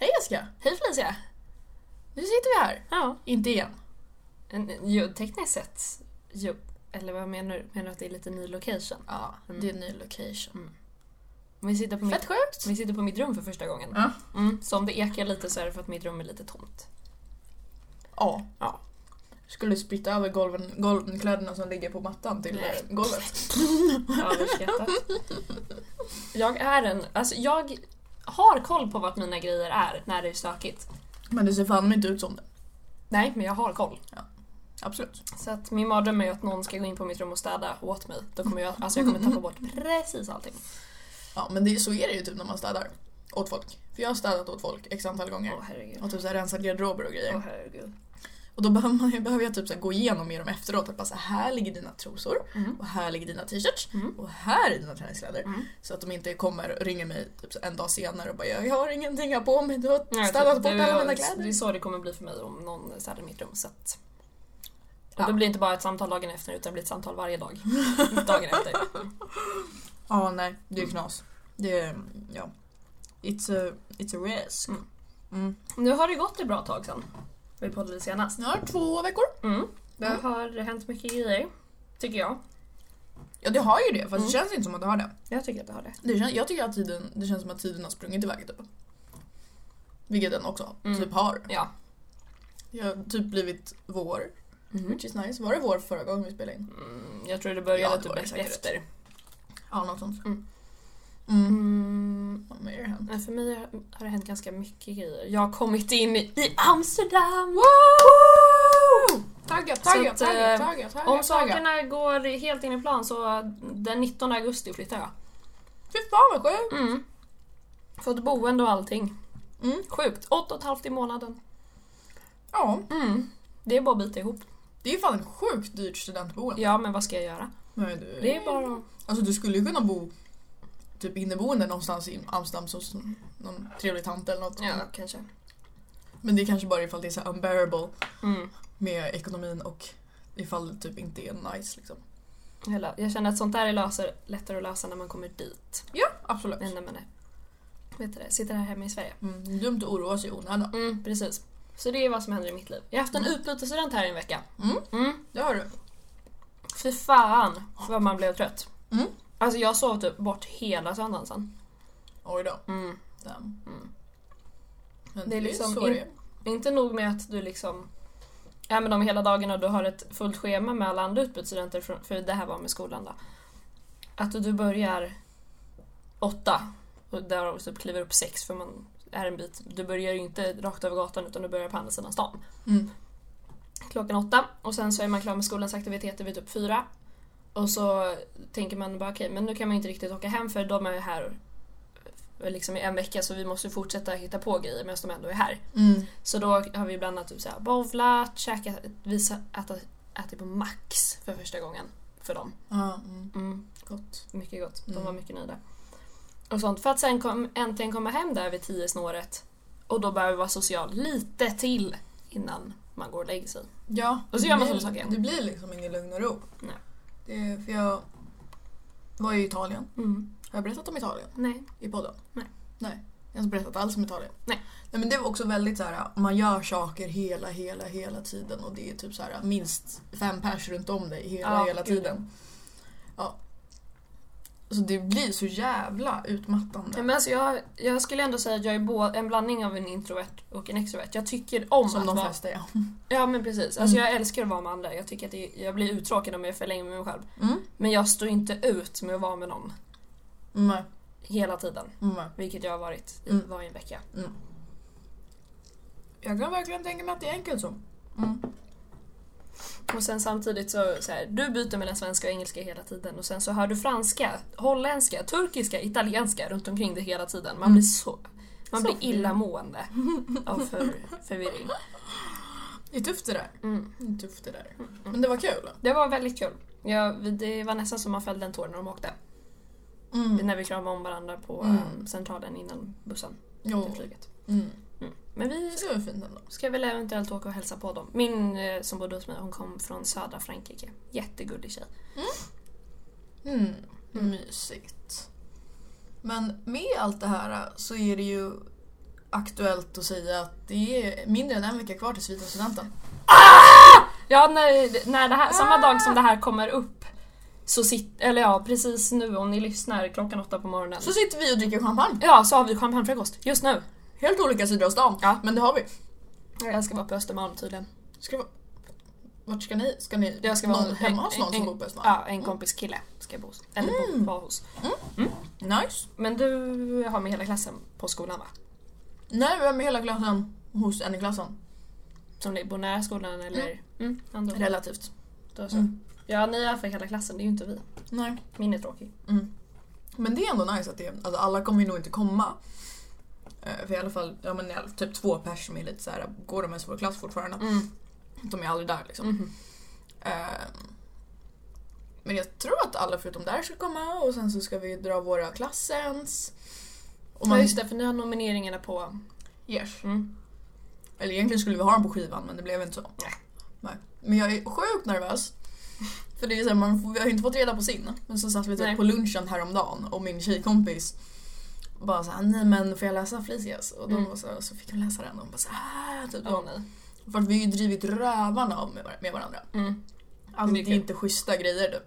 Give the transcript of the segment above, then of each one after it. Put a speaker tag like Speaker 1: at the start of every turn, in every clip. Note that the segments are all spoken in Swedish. Speaker 1: Jessica! Hej Felicia! Nu sitter vi här.
Speaker 2: Ja.
Speaker 1: Inte igen.
Speaker 2: En, jo, tekniskt sett. Jo, eller vad menar du? Menar du att det är lite ny location?
Speaker 1: Ja,
Speaker 2: Mm.
Speaker 1: det är en ny location.
Speaker 2: Vi sitter på
Speaker 1: Fett
Speaker 2: mitt,
Speaker 1: sjukt!
Speaker 2: vi sitter på mitt rum för första gången.
Speaker 1: Ja.
Speaker 2: Mm, så om det ekar lite så är det för att mitt rum är lite tomt.
Speaker 1: Ja.
Speaker 2: Ja.
Speaker 1: Skulle spytta över golven, golven, kläderna som ligger på mattan till
Speaker 2: Nej.
Speaker 1: eh, golvet.
Speaker 2: Överskattat. jag är en... Alltså jag har koll på vart mina grejer är när det är stökigt.
Speaker 1: Men det ser fan inte ut som det.
Speaker 2: Nej, men jag har koll.
Speaker 1: Absolut.
Speaker 2: Så att min mardröm är att någon ska gå in på mitt rum och städa åt mig. Då kommer jag, alltså jag kommer tappa bort precis allting.
Speaker 1: Ja, men det, så är det ju typ när man städar. Åt folk. För jag har städat åt folk x antal gånger.
Speaker 2: Åh herregud.
Speaker 1: Och typ så här rensat garderober och grejer.
Speaker 2: Åh herregud.
Speaker 1: Och då behöver, man, ju- behöver jag typ så här gå igenom med dem efteråt. Att bara så här, här ligger dina trosor.
Speaker 2: Mm.
Speaker 1: Och här ligger dina t-shirts.
Speaker 2: Mm.
Speaker 1: Och här är dina träningskläder.
Speaker 2: Mm.
Speaker 1: Så att de inte kommer och ringer mig typ så en dag senare och bara jag har ingenting jag har på mig. Du har
Speaker 2: Nej,
Speaker 1: städat
Speaker 2: typ,
Speaker 1: bort
Speaker 2: du-
Speaker 1: alla mina
Speaker 2: Det är
Speaker 1: kläder.
Speaker 2: så det kommer bli för mig om någon städar mitt rum. Så att, och
Speaker 1: Ja.
Speaker 2: det blir inte bara ett samtal dagen efter utan det blir ett samtal varje dag. dagen efter.
Speaker 1: Ja, nej. Det är knas. Det är, ja. It's a, it's a risk.
Speaker 2: Mm.
Speaker 1: Mm.
Speaker 2: Nu har det gått ett bra tag sedan vi poddade senast.
Speaker 1: Snart två veckor.
Speaker 2: Mm. Det
Speaker 1: Mm.
Speaker 2: har hänt mycket grejer, tycker jag.
Speaker 1: Ja, det har ju det. Fast
Speaker 2: Mm.
Speaker 1: det känns inte som att det har det.
Speaker 2: Jag tycker att det har det.
Speaker 1: det kän, jag tycker att tiden, det känns som att tiden har sprungit iväg typ. Vilket den också
Speaker 2: Mm.
Speaker 1: typ har.
Speaker 2: Ja.
Speaker 1: Jag har typ blivit vår.
Speaker 2: Mm.
Speaker 1: Which is nice. Var det vår förra gången vi spelade in?
Speaker 2: Jag tror det
Speaker 1: Ja,
Speaker 2: började
Speaker 1: det var det
Speaker 2: typ
Speaker 1: säkert.
Speaker 2: efter.
Speaker 1: Ja, något sånt.
Speaker 2: Mm.
Speaker 1: Mm.
Speaker 2: Mm.
Speaker 1: Vad mer har hänt?
Speaker 2: Nej, För mig har har det hänt ganska mycket grejer. Jag har kommit in i i Amsterdam!
Speaker 1: Tagga,
Speaker 2: Så
Speaker 1: tagga,
Speaker 2: att,
Speaker 1: tagga,
Speaker 2: eh,
Speaker 1: tagga, tagga. tagga.
Speaker 2: Om sakerna går helt in i plan så den 19 augusti flyttar jag.
Speaker 1: Fy fan vad sjukt!
Speaker 2: Mm. Fått boende och allting.
Speaker 1: Mm.
Speaker 2: Sjukt. Åtta och ett halvt i månaden.
Speaker 1: Ja,
Speaker 2: Mm. Det är bara att bita ihop.
Speaker 1: det är ju fan ett sjukt dyrt studentboende.
Speaker 2: Ja, men vad ska jag göra?
Speaker 1: Men du,
Speaker 2: Det är bara...
Speaker 1: Alltså du skulle ju kunna bo typ inneboende någonstans i Amsterdam hos någon trevlig tant eller något.
Speaker 2: Ja, kanske.
Speaker 1: Men det är kanske bara ifall det är så här unbearable
Speaker 2: Mm.
Speaker 1: med ekonomin och ifall det typ inte är nice liksom.
Speaker 2: Jag lö- Jag känner att sånt där är löser, lättare att lösa när man kommer dit.
Speaker 1: Ja, absolut.
Speaker 2: Än när man är... Vet du det? Sitter här hemma i Sverige.
Speaker 1: Mm, det är dumt att oroa sig i onödan.
Speaker 2: Mm, precis. Så det är vad som händer i mitt liv. Jag har haft en utbytesstudent här i en vecka.
Speaker 1: Mm.
Speaker 2: Mm.
Speaker 1: Det har du.
Speaker 2: Fy fan vad man blev trött.
Speaker 1: Mm.
Speaker 2: Alltså jag sov typ bort hela söndagen sen.
Speaker 1: Oj då.
Speaker 2: Mm.
Speaker 1: Damn.
Speaker 2: Mm.
Speaker 1: Men
Speaker 2: Det
Speaker 1: det
Speaker 2: är
Speaker 1: är
Speaker 2: liksom
Speaker 1: så
Speaker 2: in-
Speaker 1: det är.
Speaker 2: Inte nog med att du liksom är med dem hela dagen och du har ett fullt schema med alla andra utbytesstudenter, för- för det här var med skolan då. Att du börjar åtta och därav så kliver upp sex för man är en bit. Du börjar ju inte rakt över gatan utan du börjar på andra sidan stan.
Speaker 1: Mm.
Speaker 2: Klockan åtta och sen så är man klar med skolans aktiviteter vid typ fyra. Och så tänker man bara okej, men nu kan man ju inte riktigt åka hem för de är ju här eh, liksom i en vecka så vi måste fortsätta hitta på grejer medan de ändå är här.
Speaker 1: Mm.
Speaker 2: Så då har vi bland annat typ så här bowlat, käkat, vi sa- äta- ätit på Max för första gången för dem.
Speaker 1: Ja, mm.
Speaker 2: Mm,
Speaker 1: Gott.
Speaker 2: mycket gott, de
Speaker 1: Mm.
Speaker 2: var mycket nöjda. Och sånt. För att sen kom, äntligen komma hem där vid 10 snåret och då börjar vi vara social lite till innan man går och lägger sig.
Speaker 1: Ja.
Speaker 2: Och så gör man
Speaker 1: det blir-
Speaker 2: sådana saker.
Speaker 1: Det blir liksom ingen lugn och ro.
Speaker 2: Nej.
Speaker 1: Det är, för jag var ju i Italien.
Speaker 2: Mm.
Speaker 1: Har jag berättat om Italien
Speaker 2: Nej.
Speaker 1: i podden?
Speaker 2: Nej.
Speaker 1: Nej. Jag har inte berättat alls om Italien.
Speaker 2: Nej.
Speaker 1: Nej men det var också väldigt så här, man gör saker hela, hela, hela tiden och det är typ så här minst fem pers runt om dig hela,
Speaker 2: Ja,
Speaker 1: hela
Speaker 2: gud.
Speaker 1: tiden. Ja. Så det blir så jävla utmattande.
Speaker 2: Nej, Men alltså jag, jag skulle ändå säga att jag är bå- en blandning av en introvert och en extrovert. Jag tycker om
Speaker 1: Som
Speaker 2: att
Speaker 1: de
Speaker 2: vara...
Speaker 1: flesta är.
Speaker 2: Ja men precis. Alltså
Speaker 1: Mm.
Speaker 2: jag älskar att vara med andra. Jag tycker att det, jag blir uttråkad om jag är för länge med mig själv.
Speaker 1: Mm.
Speaker 2: Men jag står inte ut med att vara med någon
Speaker 1: Nej.
Speaker 2: hela tiden.
Speaker 1: Nej.
Speaker 2: Vilket jag har varit i,
Speaker 1: Mm.
Speaker 2: var i en vecka.
Speaker 1: Jag kan verkligen tänka mig att det är enkelt så. Mm.
Speaker 2: Och sen samtidigt så, så här, du byter mellan svenska och engelska hela tiden och sen så hör du franska, holländska, turkiska, italienska runt omkring dig hela tiden. Man
Speaker 1: Mm.
Speaker 2: blir så... Man
Speaker 1: Så
Speaker 2: blir
Speaker 1: förvirrad.
Speaker 2: illamående av för, förvirring.
Speaker 1: Det är tufft det där.
Speaker 2: Mm.
Speaker 1: Det är tufft det där. Men det var kul.
Speaker 2: Det var väldigt kul. Ja, vi- det var nästan som man fällde en tår när de åkte.
Speaker 1: Mm.
Speaker 2: När vi kramade om varandra på
Speaker 1: Mm.
Speaker 2: eh, centralen innan bussen till
Speaker 1: Jo.
Speaker 2: flyget.
Speaker 1: Mm.
Speaker 2: Mm. Men vi
Speaker 1: Det var fint ändå.
Speaker 2: Ska väl eventuellt åka och hälsa på dem. Min eh, som bodde hos mig, hon kom från södra Frankrike. Jättegullig tjej.
Speaker 1: Mm.
Speaker 2: Mm.
Speaker 1: Mysigt. Men med allt det här så är det ju aktuellt att säga att det är mindre än en vecka kvar till vita studenten.
Speaker 2: Ja, när, när det här, samma dag som det här kommer upp så sitter, eller ja, precis nu om ni lyssnar klockan åtta på morgonen.
Speaker 1: Så sitter vi och dricker champagne.
Speaker 2: Ja, så har vi champagnefrukost just nu.
Speaker 1: Helt olika sidor av stan,
Speaker 2: Ja.
Speaker 1: men det har vi.
Speaker 2: Jag ska vara på Östermalm tydligen.
Speaker 1: Ska vi... Vart ska ni? Ska ni
Speaker 2: Jag ska vara
Speaker 1: någon, hemma hos någon
Speaker 2: en,
Speaker 1: som bor på Östermalm? Mm.
Speaker 2: Ja, en kompis kille ska jag bo hos. Eller bo- vara hos.
Speaker 1: Nice.
Speaker 2: Men du har med hela klassen på skolan va?
Speaker 1: Nej, vi är med hela klassen hos en i klassen.
Speaker 2: Som ni bor nära skolan eller? Mm. ändå.
Speaker 1: Relativt.
Speaker 2: Då så.
Speaker 1: Mm.
Speaker 2: Ja, ni är för hela klassen, det är ju inte vi.
Speaker 1: Nej.
Speaker 2: Min är tråkig.
Speaker 1: Mm. Men det är ändå nice att det, alltså alla kommer ju nog inte komma. Eh, För i alla fall, ja men i alla- typ två personer som är lite så här, går de ens i vår klass fortfarande?
Speaker 2: Mm.
Speaker 1: De är aldrig där liksom.
Speaker 2: Mhm.
Speaker 1: Eh, Men jag tror att alla förutom där ska komma och sen så ska vi dra våra klassens. Och man,
Speaker 2: Ja just det, för ni har nomineringarna på...
Speaker 1: Yes.
Speaker 2: Mm.
Speaker 1: Eller egentligen skulle vi ha dem på skivan men det blev inte så.
Speaker 2: Nej.
Speaker 1: Nej. Men jag är sjukt nervös. För det är så här, man får, vi har ju inte fått reda på sin. Men så satt vi
Speaker 2: Nej.
Speaker 1: typ på lunchen häromdagen och min tjejkompis bara såhär, nej men får jag läsa Felicias? Och då
Speaker 2: Mm.
Speaker 1: var så, här- så fick hon läsa den och hon bara såhär, typ.
Speaker 2: Ja, nej.
Speaker 1: För att vi har ju drivit rövarna av med, var- med varandra.
Speaker 2: Mm.
Speaker 1: Alltså det
Speaker 2: Mycket.
Speaker 1: är inte schyssta grejer typ.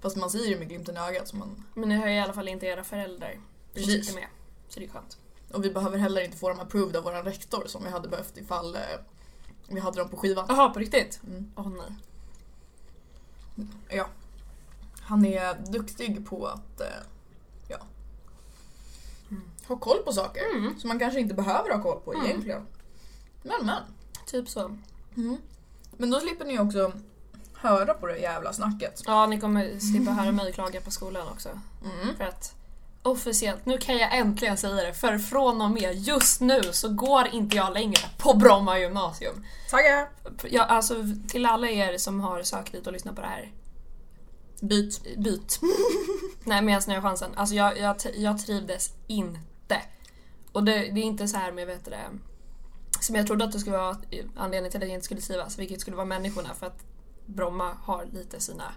Speaker 1: Fast man säger det med glimten i ögat. Så man,
Speaker 2: Men ni har ju i alla fall inte era föräldrar som
Speaker 1: Precis.
Speaker 2: sitter med. Så det är skönt.
Speaker 1: och vi behöver heller inte få dem approved av våran rektor som vi hade behövt ifall eh, vi hade dem på skivan.
Speaker 2: Jaha, på riktigt?
Speaker 1: Mm.
Speaker 2: Åh nej.
Speaker 1: Han är duktig på att eh, ja,
Speaker 2: Mm.
Speaker 1: ha koll på saker
Speaker 2: Mm.
Speaker 1: som man kanske inte behöver ha koll på
Speaker 2: Mm.
Speaker 1: egentligen. Men men.
Speaker 2: Typ så.
Speaker 1: Men då slipper ni också höra på det jävla snacket.
Speaker 2: Ja, ni kommer slippa höra mig klaga på skolan också.
Speaker 1: Mm.
Speaker 2: För att officiellt, nu kan jag äntligen säga det, för från och med just nu så går inte jag längre på Bromma gymnasium.
Speaker 1: Tagga!
Speaker 2: Jag, alltså till alla er som har sökt dit och lyssnat på det här,
Speaker 1: Byt.
Speaker 2: byt. Nej men alltså när jag har chansen. Alltså jag, jag, t- jag trivdes inte. Och det, det är inte så här med, vet du det, som jag trodde att det skulle vara anledningen till att jag inte skulle trivas, vilket skulle vara människorna för att Bromma har lite sina,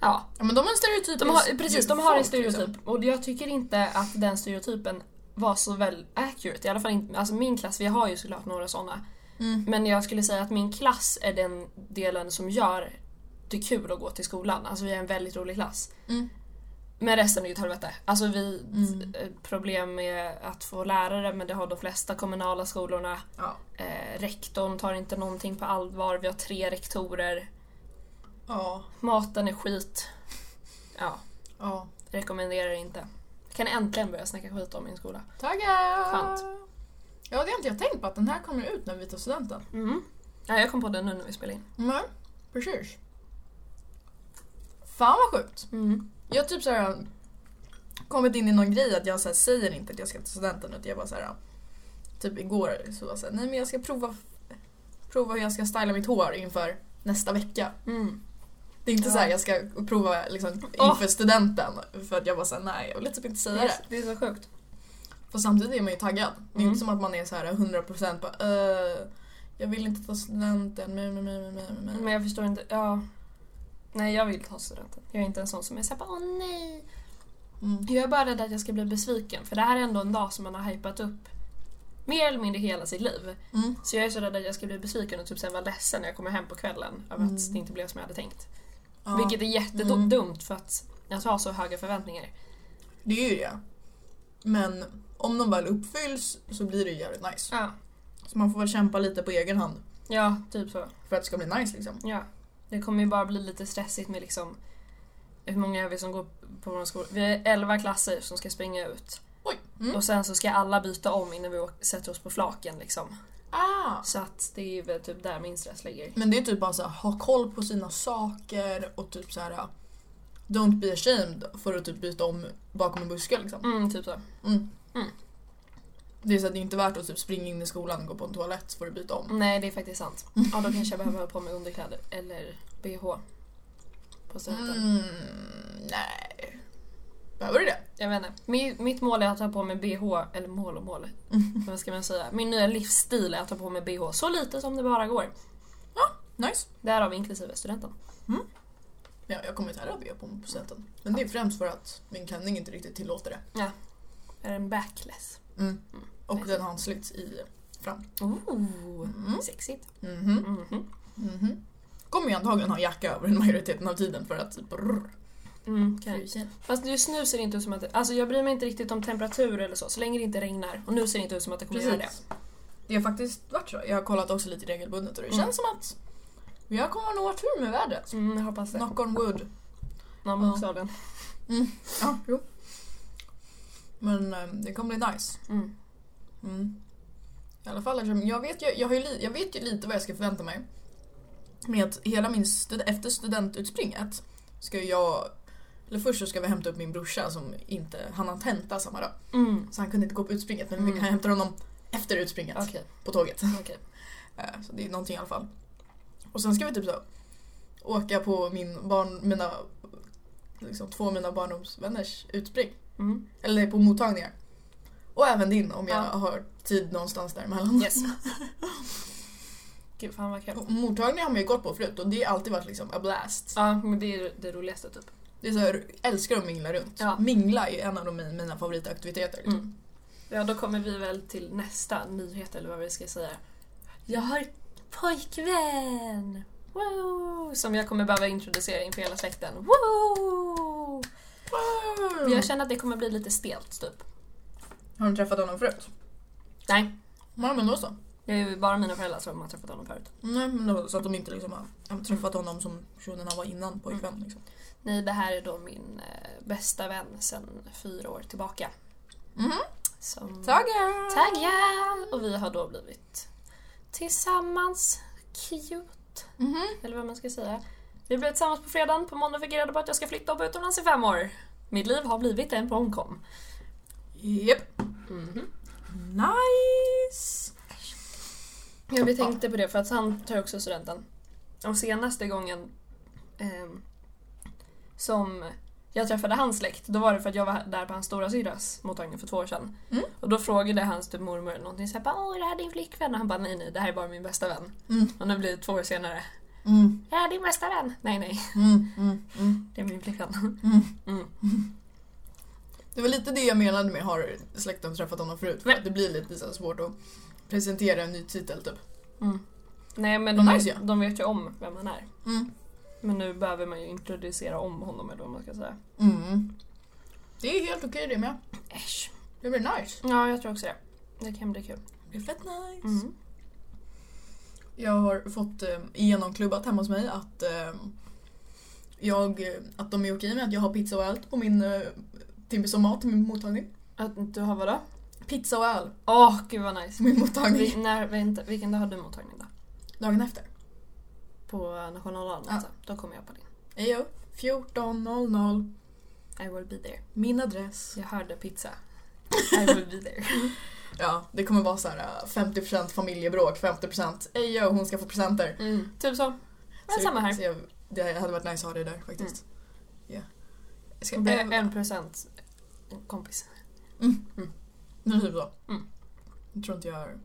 Speaker 2: ja
Speaker 1: Ja, men de är en stereotyp.
Speaker 2: de har, precis, de har en
Speaker 1: folk,
Speaker 2: stereotyp.
Speaker 1: liksom.
Speaker 2: Och jag tycker inte att den stereotypen var så väl accurate. I alla fall inte, alltså min klass, vi har ju såklart några sådana.
Speaker 1: Mm.
Speaker 2: Men jag skulle säga att min klass är den delen som gör det kul att gå till skolan. Alltså vi är en väldigt rolig klass.
Speaker 1: Mm.
Speaker 2: Men resten är ju ett helvete. Alltså vi
Speaker 1: Mm.
Speaker 2: eh, problem med att få lärare men det har de flesta kommunala skolorna.
Speaker 1: Ja.
Speaker 2: Eh, rektorn tar inte någonting på allvar. Vi har tre rektorer.
Speaker 1: Ja.
Speaker 2: Maten är skit. Ja.
Speaker 1: ja.
Speaker 2: Rekommenderar inte. Kan äntligen börja snacka skit om min skola.
Speaker 1: Tagga!
Speaker 2: Skönt.
Speaker 1: Ja, det har inte jag tänkt på att den här kommer ut när vi tar studenten.
Speaker 2: Mm. Ja, jag kom på det nu när vi spelade in.
Speaker 1: Nej, precis. Fan vad sjukt. Jag har typ såhär kommit in i någon grej att jag så här, säger inte att jag ska till studenten utan jag bara såhär typ igår så var jag såhär, nej men jag ska prova prova hur jag ska styla mitt hår inför nästa vecka.
Speaker 2: Mm.
Speaker 1: Det är inte
Speaker 2: Ja.
Speaker 1: så såhär jag ska prova liksom
Speaker 2: Åh.
Speaker 1: inför studenten för att jag bara såhär nej jag vill typ inte säga det.
Speaker 2: Det är så sjukt.
Speaker 1: Fast samtidigt är man ju taggad. Det är
Speaker 2: Mm.
Speaker 1: inte som att man är såhär 100% bara eh jag vill inte ta studenten, men, men, men, men, men, men.
Speaker 2: Men jag förstår inte. Ja. Nej, jag vill ta studenten. Jag är inte en sån som är såhär bara, åh nej.
Speaker 1: Mm.
Speaker 2: Jag är bara rädd att jag ska bli besviken för det här är ändå en dag som man har hypat upp mer eller mindre hela sitt liv.
Speaker 1: Mm.
Speaker 2: Så jag är så rädd att jag ska bli besviken och typ sen vara ledsen när jag kommer hem på kvällen över att
Speaker 1: Mm.
Speaker 2: det inte blev som jag hade tänkt.
Speaker 1: Ja,
Speaker 2: Vilket är jättedumt
Speaker 1: Mm.
Speaker 2: för att jag har så höga förväntningar.
Speaker 1: det är ju det. Men om de väl uppfylls så blir det ju jävligt nice.
Speaker 2: Ja,
Speaker 1: Så man får väl kämpa lite på egen hand
Speaker 2: ja typ så.
Speaker 1: för att det ska bli nice liksom.
Speaker 2: Ja, det kommer ju bara bli lite stressigt med liksom hur många är vi som går på vår skola? Vi är 11 klasser som ska springa ut
Speaker 1: Oj! Mm.
Speaker 2: och sen så ska alla byta om innan vi åker, sätter oss på flaken liksom.
Speaker 1: Ah.
Speaker 2: Så att det är väl typ där min stress ligger.
Speaker 1: Men det är typ bara så här, ha koll på sina saker och typ så här. Don't be ashamed för att typ byta om bakom en buske liksom.
Speaker 2: Mm, typ så.
Speaker 1: Det är så att det är inte värt att typ springa in i skolan och gå på en toalett för att byta om.
Speaker 2: Nej, det är faktiskt sant.
Speaker 1: Mm.
Speaker 2: Ja, då kanske jag behöver ha på mig underkläder eller bh. På studenten.
Speaker 1: Mm, nej. Behöver du det?
Speaker 2: Jag vet inte. Min, mitt mål är att ha på mig bh, eller mål och mål,
Speaker 1: Mm.
Speaker 2: vad ska man säga? Min nya livsstil är att ha på mig bh så lite som det bara går.
Speaker 1: Nice.
Speaker 2: Därav inklusive studenten.
Speaker 1: Ja, jag kommer inte heller att be på mig på säten. Men det är främst för att min klänning inte riktigt tillåter det.
Speaker 2: Är en backless.
Speaker 1: Mm. Och den har en slut i fram.
Speaker 2: Oh,
Speaker 1: Mm.
Speaker 2: sexigt.
Speaker 1: Mhm.
Speaker 2: Mhm.
Speaker 1: Mhm. Kommer ju antagligen ha jacka över den majoriteten av tiden för att typ brrr,
Speaker 2: Mm, kan.
Speaker 1: frysen.
Speaker 2: Fast just nu ser det inte ut som att det, Alltså jag bryr mig inte riktigt om temperatur eller så, så länge det inte regnar. Och nu ser det inte ut som att det kommer göra det.
Speaker 1: Precis. Det har faktiskt varit så. Jag har kollat också lite regelbundet och det
Speaker 2: Mm.
Speaker 1: känns som att vi har kommer nog ha tur med vädret.
Speaker 2: Mm, jag hoppas det.
Speaker 1: Knock on wood.
Speaker 2: Någon
Speaker 1: Ja.
Speaker 2: bokstaven.
Speaker 1: Ja, jo. Men eh, det kommer bli nice.
Speaker 2: Mm.
Speaker 1: Mm. I alla fall eftersom jag vet, ju, jag, har ju li, jag vet ju lite vad jag ska förvänta mig. Med att hela min stud, efter studentutspringet ska ju jag... Eller först så ska vi hämta upp min brorsa som inte... Han har tenta samma dag.
Speaker 2: Mm.
Speaker 1: Så han kunde inte gå på utspringet men vi
Speaker 2: Mm.
Speaker 1: kan hämta honom efter utspringet
Speaker 2: Okej,
Speaker 1: på tåget.
Speaker 2: okej.
Speaker 1: Eh, Så det är någonting i alla fall. Och sen ska vi typ så åka på min barn, mina, liksom, två av mina barndomsvänners utspring.
Speaker 2: Mm.
Speaker 1: Eller på mottagningar. Och även din om jag
Speaker 2: Ja.
Speaker 1: har tid någonstans däremellan.
Speaker 2: Yes. Gud, fan vad kul.
Speaker 1: Och Mottagningar har man ju gått på förut och det har alltid varit liksom a blast.
Speaker 2: Ja, men det är det roligaste typ.
Speaker 1: Det är så här, älskar att mingla runt.
Speaker 2: Ja.
Speaker 1: Mingla är ju en av de, mina favoritaktiviteter. Liksom.
Speaker 2: Mm. Ja, då kommer vi väl till nästa nyhet eller vad vi ska säga. Jag har pojkvän! Wow! Som jag kommer behöva introducera inför hela släkten. Wow!
Speaker 1: Wow!
Speaker 2: Jag känner att det kommer bli lite stelt typ.
Speaker 1: Har du träffat honom förut?
Speaker 2: Nej,
Speaker 1: Ja men då så.
Speaker 2: det är ju bara mina föräldrar som har träffat honom förut.
Speaker 1: Nej, men då, så att de inte liksom har ja, men träffat honom som personen han var innan pojkvän.
Speaker 2: Mm.
Speaker 1: Liksom.
Speaker 2: Nej, det här är då min eh, bästa vän sedan fyra år tillbaka.
Speaker 1: Mhm.
Speaker 2: Som...
Speaker 1: Taggar!
Speaker 2: Taggar! Och vi har då blivit tillsammans. Cute.
Speaker 1: Mhm.
Speaker 2: Eller vad man ska säga. Vi blev tillsammans på fredagen, på måndag fick jag reda på att jag ska flytta och bo utomlands i fem år. Mitt liv har blivit en romcom. Mhm.
Speaker 1: Japp. Nice!
Speaker 2: Ja, vi tänkte på det för att han tar också studenten. Och senaste gången ehm, som jag träffade hans släkt, då var det för att jag var där på hans storasyrras mottagning för två år sedan.
Speaker 1: Mm.
Speaker 2: Och då frågade hans typ mormor någonting såhär bara “Åh, är det här din flickvän?” och han bara “Nej, nej, det här är bara min bästa vän”.
Speaker 1: Mm.
Speaker 2: Och nu blir det två år senare.
Speaker 1: Mm,
Speaker 2: “Är det här din bästa vän?” Nej, nej,
Speaker 1: mm, mm, mm,
Speaker 2: det är min flickvän.
Speaker 1: mm.
Speaker 2: Mm.
Speaker 1: Det var lite det jag menade med har släkten träffat honom förut. För
Speaker 2: Men-
Speaker 1: att det blir lite så här svårt att presentera en ny titel typ.
Speaker 2: Mm. Nej, men
Speaker 1: Vad
Speaker 2: de,
Speaker 1: nice, ja.
Speaker 2: de vet ju om vem han är.
Speaker 1: Mm.
Speaker 2: Men nu behöver man ju introducera om honom eller vad man ska säga.
Speaker 1: Mm. Det är helt okej det med.
Speaker 2: Äsch.
Speaker 1: Det blir nice.
Speaker 2: Ja, jag tror också det. Det kan bli kul. Mm.
Speaker 1: Det blir fett nice. Mm. Jag har fått eh, genomklubbat hemma hos mig att, eh, jag, eh, att de är okej med att jag har pizza och öl på min eh, timme som mat till min mottagning.
Speaker 2: Att du har vadå?
Speaker 1: Pizza och öl Mm.
Speaker 2: Åh, gud vad nice.
Speaker 1: till min mottagning
Speaker 2: Vi, när, vänta, vilken dag har du mottagning då?
Speaker 1: dagen efter.
Speaker 2: På nationaldagen
Speaker 1: Ja.
Speaker 2: alltså. Då kommer jag på din.
Speaker 1: Ejo, 14.00.
Speaker 2: I will be there.
Speaker 1: Min adress.
Speaker 2: Jag hörde pizza. I will be there.
Speaker 1: Ja, det kommer vara så här eh, 50% familjebråk, 50% ejo, hon ska få presenter.
Speaker 2: Mm. Typ så. Men
Speaker 1: Så-
Speaker 2: samma här.
Speaker 1: Så jag, det hade varit nice att ha det där faktiskt. Ja. Jag ska,
Speaker 2: Det
Speaker 1: eh,
Speaker 2: är En procent kompis.
Speaker 1: Nu typ så.
Speaker 2: Mm.
Speaker 1: Mm. Jag tror inte jag har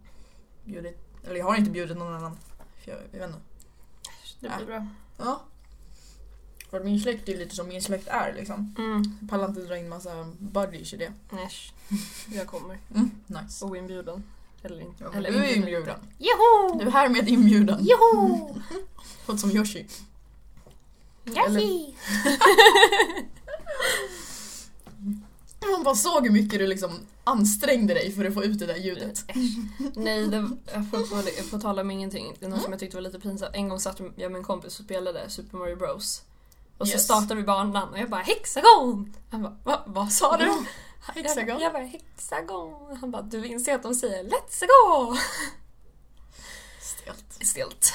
Speaker 1: bjudit, eller jag har inte bjudit någon annan. För jag, jag vet inte.
Speaker 2: Det
Speaker 1: Ja.
Speaker 2: blir bra.
Speaker 1: Ja. För att min släkt är lite som min släkt är liksom.
Speaker 2: Mm.
Speaker 1: Jag pallar inte dra in massa buddies i det.
Speaker 2: Äsch. Jag kommer.
Speaker 1: Mm. Nice.
Speaker 2: Oinbjuden. Eller inte.
Speaker 1: Ja, men
Speaker 2: Eller
Speaker 1: du är
Speaker 2: inbjuden.
Speaker 1: inbjuden.
Speaker 2: Joho!
Speaker 1: Du är härmed inbjuden.
Speaker 2: Joho!
Speaker 1: Låter som Yoshi.
Speaker 2: Yoshi!
Speaker 1: Man bara såg hur mycket du liksom ansträngde dig för att få ut det där ljudet.
Speaker 2: Nej, det, apropå det, på tal om ingenting. Det är något som jag tyckte var lite pinsamt. En gång satt jag med en kompis och spelade Super Mario Bros. Och så
Speaker 1: Yes.
Speaker 2: startade vi banan och jag bara hexagon! Han bara Va, vad sa du? Jag, bara-
Speaker 1: Hexagon.
Speaker 2: jag bara hexagon. Han bara du inser att de säger let's go!
Speaker 1: Stelt.
Speaker 2: Stelt.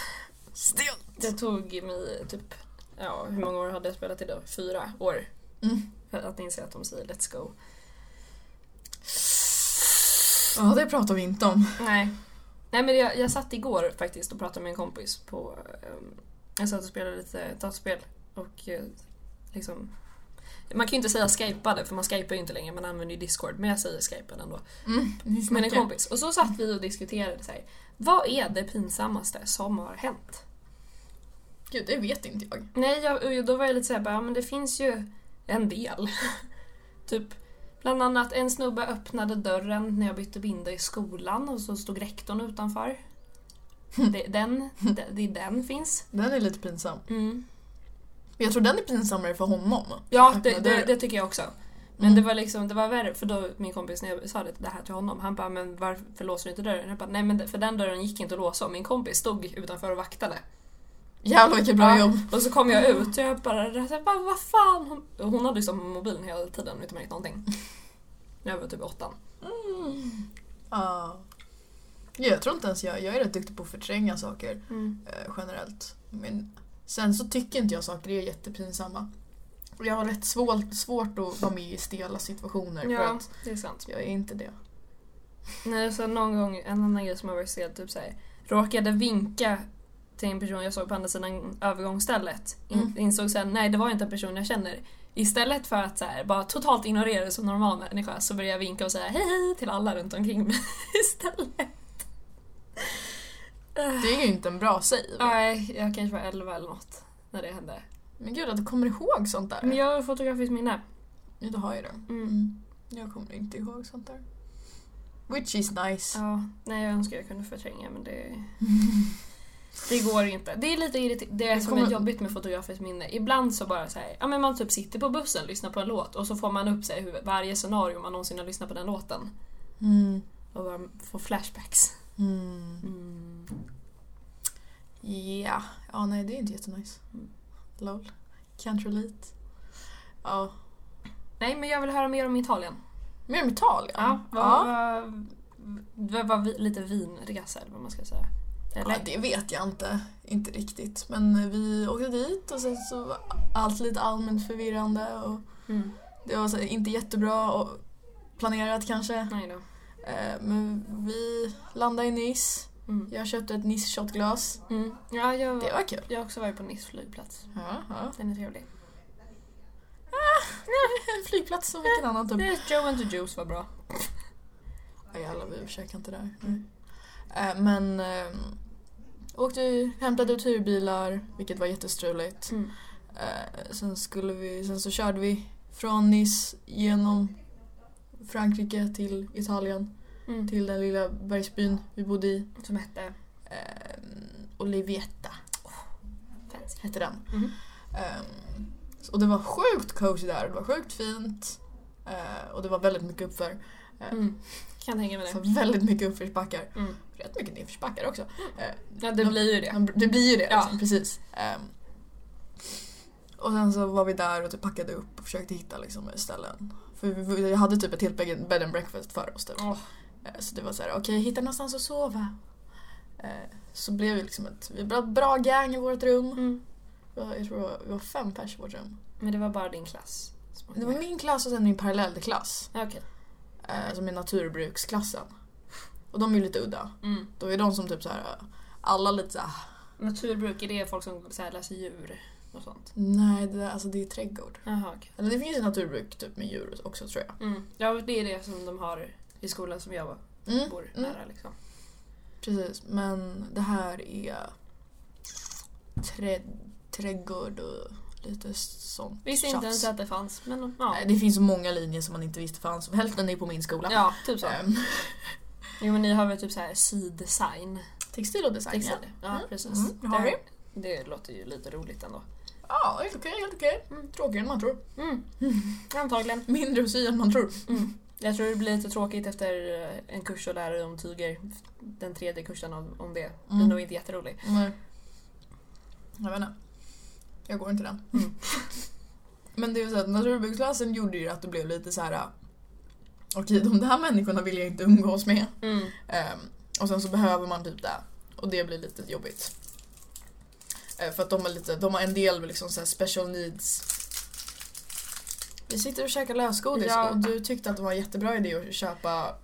Speaker 1: Stelt.
Speaker 2: Det tog mig typ, ja hur många år hade jag spelat idag? Fyra år.
Speaker 1: Mm.
Speaker 2: För att inse att de säger let's go.
Speaker 1: Ja, det pratar vi inte om.
Speaker 2: Nej. Nej men jag, jag satt igår faktiskt och pratade med en kompis på... ehm, jag satt och spelade lite dataspel och eh, liksom... Man kan ju inte säga skypade för man skypar ju inte längre, man använder ju discord. Men jag säger skypade ändå.
Speaker 1: Mm. ni
Speaker 2: Med en
Speaker 1: snackar.
Speaker 2: kompis. Och så satt vi och diskuterade så här. Vad är det pinsammaste som har hänt?
Speaker 1: Gud, det vet inte jag.
Speaker 2: Nej, jag, och då var jag lite såhär bara, ja men det finns ju en del. typ, Bland annat en snubbe öppnade dörren när jag bytte binda i skolan och så stod rektorn utanför. Det, den, det, det är den finns.
Speaker 1: Den är lite pinsam. Men jag tror den är pinsammare för honom.
Speaker 2: Ja,
Speaker 1: Öppna
Speaker 2: det, det,
Speaker 1: dörren.
Speaker 2: det tycker jag också. Men
Speaker 1: Mm.
Speaker 2: det var liksom, det var värre, för då min kompis när jag sa det, det här till honom, han bara men varför låser du inte dörren? Jag bara, nej men det- för den dörren gick inte att låsa och min kompis stod utanför och vaktade.
Speaker 1: Jävlar vilket bra
Speaker 2: Ja.
Speaker 1: jobb.
Speaker 2: Och så kom jag ut och jag bara, jag bara vad fan? Hon, och hon hade ju som mobilen hela tiden utan att märka någonting. När jag var typ åttan. Mm.
Speaker 1: Ja. Ja, jag tror inte ens jag, jag är rätt duktig på att förtränga saker eh, generellt. Men sen så tycker inte jag saker är jättepinsamma. Och Jag har rätt svårt, svårt att vara med i stela situationer för
Speaker 2: Ja,
Speaker 1: att
Speaker 2: det är sant.
Speaker 1: jag är inte det.
Speaker 2: Nej, så någon gång, en annan grej som har varit stel, typ såhär, råkade vinka till en person jag såg på andra sidan övergångsstället. In,
Speaker 1: Mm.
Speaker 2: Insåg sen, nej det var inte en person jag känner. Istället för att så här, bara totalt ignorera det som normal människa så började jag vinka och säga hej hej till alla runt omkring mig istället.
Speaker 1: Det är ju inte en bra save.
Speaker 2: Nej, jag kanske var 11 eller något när det hände.
Speaker 1: Men gud att du kommer ihåg sånt där.
Speaker 2: Men jag har ju fotografiskt minne.
Speaker 1: Ja, du har ju det.
Speaker 2: Mm.
Speaker 1: Mm. Jag kommer inte ihåg sånt där. Which is nice.
Speaker 2: Ja, nej jag önskar jag kunde förtränga men det... Det går inte. Det är lite irriterande. Det är
Speaker 1: Jag
Speaker 2: som
Speaker 1: kommer-
Speaker 2: är jobbigt med fotografiskt minne. Ibland så bara så här, ja men man typ sitter på bussen och lyssnar på en låt och så får man upp sig i huvudet varje scenario man någonsin har lyssnat på den låten.
Speaker 1: Mm.
Speaker 2: Och bara får flashbacks.
Speaker 1: Mm.
Speaker 2: Mm.
Speaker 1: Ja, ja nej det är inte jättenice.
Speaker 2: Mm.
Speaker 1: Lol. Can't relate. Ja.
Speaker 2: Nej men jag vill höra mer om Italien.
Speaker 1: Mer om Italien?
Speaker 2: Ja, vad,
Speaker 1: ja.
Speaker 2: vad, vad, vad vi, lite vinresa eller vad man ska säga. Eller?
Speaker 1: ja, det vet jag inte. Inte riktigt. Men vi åkte dit och sen så var allt lite allmänt förvirrande och
Speaker 2: Mm.
Speaker 1: det var så här, inte jättebra och planerat kanske.
Speaker 2: Nej då.
Speaker 1: Eh, Men vi landade i Nice.
Speaker 2: Mm.
Speaker 1: Jag köpte ett Nice-shotglas.
Speaker 2: Mm. Ja, jag,
Speaker 1: Det var kul.
Speaker 2: jag har också varit på Nice flygplats.
Speaker 1: Ja, ja.
Speaker 2: Den är trevlig.
Speaker 1: En flygplats som vilken annan typ.
Speaker 2: Det, Joe and the Juice var bra.
Speaker 1: Ja, Jävlar, vi försöker inte där. Nej. Eh, Men eh, åkte, hämtade ut hyrbilar, vilket var jättestruligt.
Speaker 2: Mm.
Speaker 1: Eh, sen, skulle vi, sen så körde vi från Nice genom Frankrike till Italien,
Speaker 2: Mm.
Speaker 1: till den lilla bergsbyn vi bodde i.
Speaker 2: Som hette...
Speaker 1: Eh, Olivietta
Speaker 2: Fancy.
Speaker 1: hette den.
Speaker 2: Mm.
Speaker 1: Eh, och det var sjukt cozy där, det var sjukt fint eh, och det var väldigt mycket uppför.
Speaker 2: Mm. Kan tänka mig
Speaker 1: Så
Speaker 2: det.
Speaker 1: väldigt mycket uppförsbackar.
Speaker 2: Mm.
Speaker 1: Rätt mycket nedförsbackar också. Eh,
Speaker 2: Ja, det blir ju det.
Speaker 1: Han- Det blir ju det,
Speaker 2: Ja.
Speaker 1: liksom, precis. Ehm, och sen så var vi där och typ packade upp och försökte hitta liksom, ställen. För vi, vi hade typ ett helt bed bed and breakfast för oss. Typ.
Speaker 2: Åh.
Speaker 1: Eh, Så det var så här, okej hitta någonstans att sova. Eh, Så blev vi liksom ett vi var ett bra gang i vårt rum.
Speaker 2: Mm.
Speaker 1: Vi var- Jag tror vi var- vi var fem pers i vårt rum.
Speaker 2: Men det var bara din klass. som åkte
Speaker 1: Det var
Speaker 2: med.
Speaker 1: min klass och sen min parallellklass.
Speaker 2: Ja, Okej.
Speaker 1: eh, Som är naturbruksklassen. Och de är ju lite udda.
Speaker 2: Mm.
Speaker 1: Då är de som typ så här, alla lite så här,
Speaker 2: Naturbruk, är det folk som så här, läser djur och sånt?
Speaker 1: nej det, där, alltså det är trädgård.
Speaker 2: Jaha, okej.
Speaker 1: Eller det finns ju naturbruk typ med djur också tror jag.
Speaker 2: Mm. Ja, det är det som de har i skolan som jag
Speaker 1: Mm,
Speaker 2: bor
Speaker 1: mm,
Speaker 2: nära liksom.
Speaker 1: precis, men det här är trä, trädgård och lite sånt
Speaker 2: Visste inte ens att det fanns, men ja.
Speaker 1: Nej, Det finns så många linjer som man inte visste fanns. Hälften är på min skola.
Speaker 2: Ja, typ så.
Speaker 1: Ehm,
Speaker 2: Jo men ni har väl typ såhär syddesign?
Speaker 1: textil och design.
Speaker 2: Textil. Ja,
Speaker 1: Mm.
Speaker 2: precis.
Speaker 1: Mm, det har
Speaker 2: det,
Speaker 1: vi.
Speaker 2: det låter ju lite roligt ändå.
Speaker 1: Ja, ja helt okej, helt okej.
Speaker 2: Mm.
Speaker 1: Tråkigare än man tror.
Speaker 2: Mm. Antagligen.
Speaker 1: Mindre att sy än man tror.
Speaker 2: Mm. Jag tror det blir lite tråkigt efter eh, en kurs att lära dig om tyger. Den tredje kursen om om det. Den
Speaker 1: Mm.
Speaker 2: är nog inte jätterolig.
Speaker 1: Nej. Jag vet inte. Jag går inte den.
Speaker 2: Mm.
Speaker 1: Men det är ju så att naturbruksklassen gjorde ju att det blev lite så här. äh, Okej, de där människorna vill jag inte umgås med.
Speaker 2: Mm.
Speaker 1: Ehm, och sen så behöver man typ det. Och det blir lite jobbigt. Eh, för att de, är lite, de har en del liksom så här special needs. Vi sitter och käkar lösgodis
Speaker 2: Ja.
Speaker 1: och du tyckte att det var en jättebra idé att köpa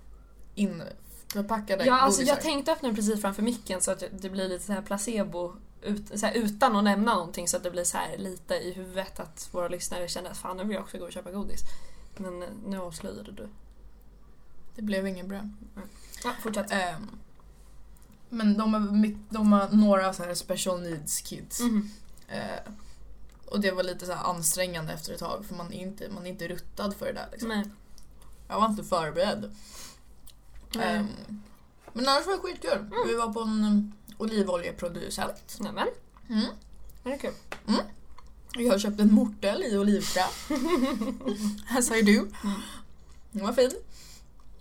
Speaker 1: införpackade
Speaker 2: Ja, alltså
Speaker 1: godisar.
Speaker 2: jag tänkte öppna den precis framför micken så att jag- det blir lite så här placebo ut, så här, utan att nämna någonting så att det blir så här lite i huvudet att våra lyssnare känner att fan nu vill jag också gå och köpa godis. Men eh, nu avslöjade du.
Speaker 1: Det blev ingen bra.
Speaker 2: Ja, fortsätt.
Speaker 1: Ehm, men de har, my- de har några så här special needs kids.
Speaker 2: Mhm.
Speaker 1: Eh, och det var lite så här ansträngande efter ett tag för man är inte, man är inte ruttad för det där. Liksom.
Speaker 2: Nej.
Speaker 1: Jag var inte förberedd.
Speaker 2: Mm.
Speaker 1: Ehm, men annars var det skitkul. Vi var på en um, olivoljeproducent.
Speaker 2: Nämen,
Speaker 1: Mm.
Speaker 2: är det kul?
Speaker 1: Jag köpte en mortel i olivträ. As I do. Den var fin.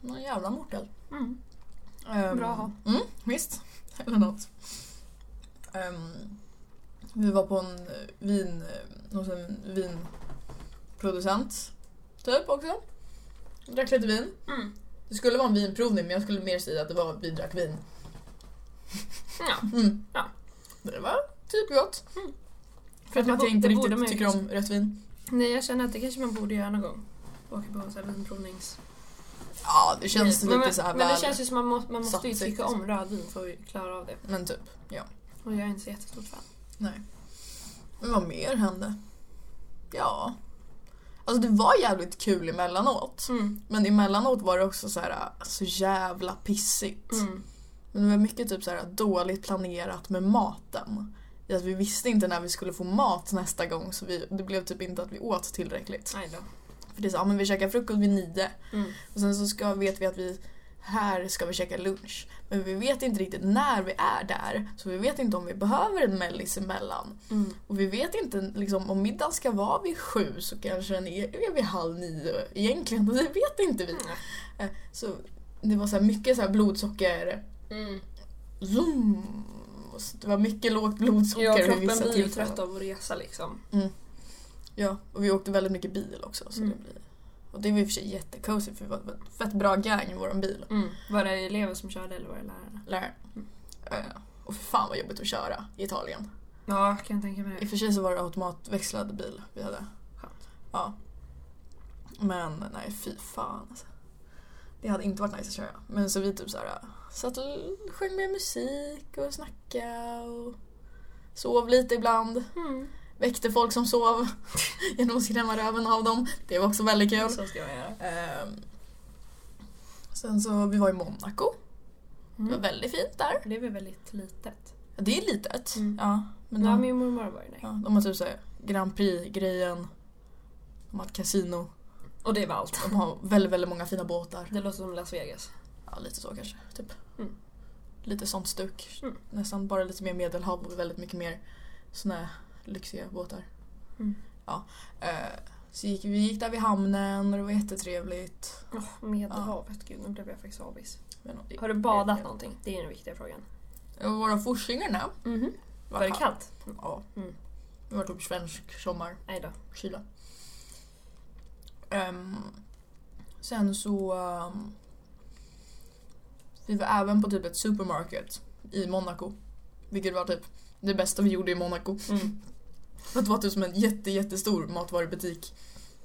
Speaker 1: Någon jävla mortel.
Speaker 2: Mm.
Speaker 1: Ehm,
Speaker 2: Bra att ha.
Speaker 1: Mm, visst. Eller något. Ehm, vi var på en eh, vin, eh, hos en vinproducent typ också. Drack lite vin.
Speaker 2: Mm.
Speaker 1: Det skulle vara en vinprovning men jag skulle mer säga att det var vi drack vin.
Speaker 2: Ja.
Speaker 1: Mm.
Speaker 2: Ja.
Speaker 1: Det var typ gott.
Speaker 2: Mm.
Speaker 1: Förutom
Speaker 2: Det
Speaker 1: att
Speaker 2: bo-
Speaker 1: jag inte
Speaker 2: det borde man
Speaker 1: riktigt
Speaker 2: ju liksom-
Speaker 1: tycker om rött vin.
Speaker 2: Nej, jag känner att det kanske man borde göra någon gång. Åka på en sån här vinprovnings...
Speaker 1: Ja, det känns
Speaker 2: men,
Speaker 1: lite
Speaker 2: men,
Speaker 1: så här
Speaker 2: men det
Speaker 1: väl.
Speaker 2: känns ju som att man, må, man måste ju
Speaker 1: satsigt,
Speaker 2: tycka
Speaker 1: liksom.
Speaker 2: om rödvin för att klara av det.
Speaker 1: Men typ,
Speaker 2: Och jag är inte så jättestort fan.
Speaker 1: men vad mer hände? Ja. Alltså det var jävligt kul emellanåt.
Speaker 2: Mm.
Speaker 1: Men emellanåt var det också så här så jävla pissigt.
Speaker 2: Mm.
Speaker 1: Men det var mycket typ så här dåligt planerat med maten. I att vi visste inte när vi skulle få mat nästa gång så vi, det blev typ inte att vi åt tillräckligt.
Speaker 2: Nej då.
Speaker 1: För det är så, ja men vi käkar frukost vid nio
Speaker 2: Mm.
Speaker 1: och sen så ska, vet vi att vi här ska vi käka lunch. Men vi vet inte riktigt när vi är där så vi vet inte om vi behöver en mellis emellan.
Speaker 2: Mm.
Speaker 1: Och vi vet inte liksom, om middagen ska vara vid sju så kanske den är, är vid halv nio egentligen. Det vet inte vi. Så det var så här mycket så här blodsocker...
Speaker 2: Mm.
Speaker 1: Zoom. Så det var mycket lågt blodsocker
Speaker 2: Ja,
Speaker 1: vid
Speaker 2: kroppen
Speaker 1: vissa
Speaker 2: blir ju
Speaker 1: tillfällen.
Speaker 2: trött av att resa liksom.
Speaker 1: Ja, och vi åkte väldigt mycket bil också. Så
Speaker 2: Mm.
Speaker 1: det blir... Och det var i och för sig jättecozy för vi var ett fett bra gang i vår bil.
Speaker 2: Mm. Var det elever som körde eller var det lärare?
Speaker 1: Läraren. Eh, Och för fan vad jobbigt att köra i Italien.
Speaker 2: Ja, kan jag tänka mig
Speaker 1: I och
Speaker 2: det.
Speaker 1: för sig så var det automatväxlad bil vi hade.
Speaker 2: Skönt.
Speaker 1: Ja. Men nej, fy fan alltså. Det hade inte varit nice att köra. Men så vi typ så här, satt och sjöng med musik och snackade och sov lite ibland.
Speaker 2: Mm.
Speaker 1: Väckte folk som sov genom att skrämma röven av dem. Det var också väldigt kul.
Speaker 2: Så ska jag göra.
Speaker 1: Ehm. Sen så, vi var i Monaco. Det var
Speaker 2: Mm.
Speaker 1: väldigt fint där.
Speaker 2: Det blev väldigt litet.
Speaker 1: Det är litet.
Speaker 2: Mm.
Speaker 1: Ja, men
Speaker 2: Ja,
Speaker 1: de,
Speaker 2: min mormor var ju där.
Speaker 1: ja, de har typ såhär Grand Prix-grejen. De har ett kasino.
Speaker 2: Och det var allt.
Speaker 1: De har väldigt, väldigt många fina båtar.
Speaker 2: Det låter som Las Vegas.
Speaker 1: Ja, lite så kanske. Typ.
Speaker 2: Mm.
Speaker 1: Lite sånt stuk.
Speaker 2: Mm.
Speaker 1: Nästan bara lite mer medelhav och väldigt mycket mer såna här lyxiga båtar.
Speaker 2: Mm.
Speaker 1: Ja. Eh, så gick, vi gick där vid hamnen och det var jättetrevligt.
Speaker 2: Oh, Medelhavet, gud nu blev jag faktiskt avis.
Speaker 1: Men,
Speaker 2: Har du badat någonting? Det är den viktiga frågan.
Speaker 1: Och Våra Forsängarna
Speaker 2: Mhm. Var det kallt?
Speaker 1: Ja.
Speaker 2: Mm.
Speaker 1: Det var typ svensk sommar.
Speaker 2: Nej då.
Speaker 1: kyla. Ehm, sen så... ehm, vi var även på typ ett supermarket i Monaco. Vilket var typ det bästa vi gjorde i Monaco. För
Speaker 2: Mm.
Speaker 1: att det var typ som en jätte, jättestor matvarubutik.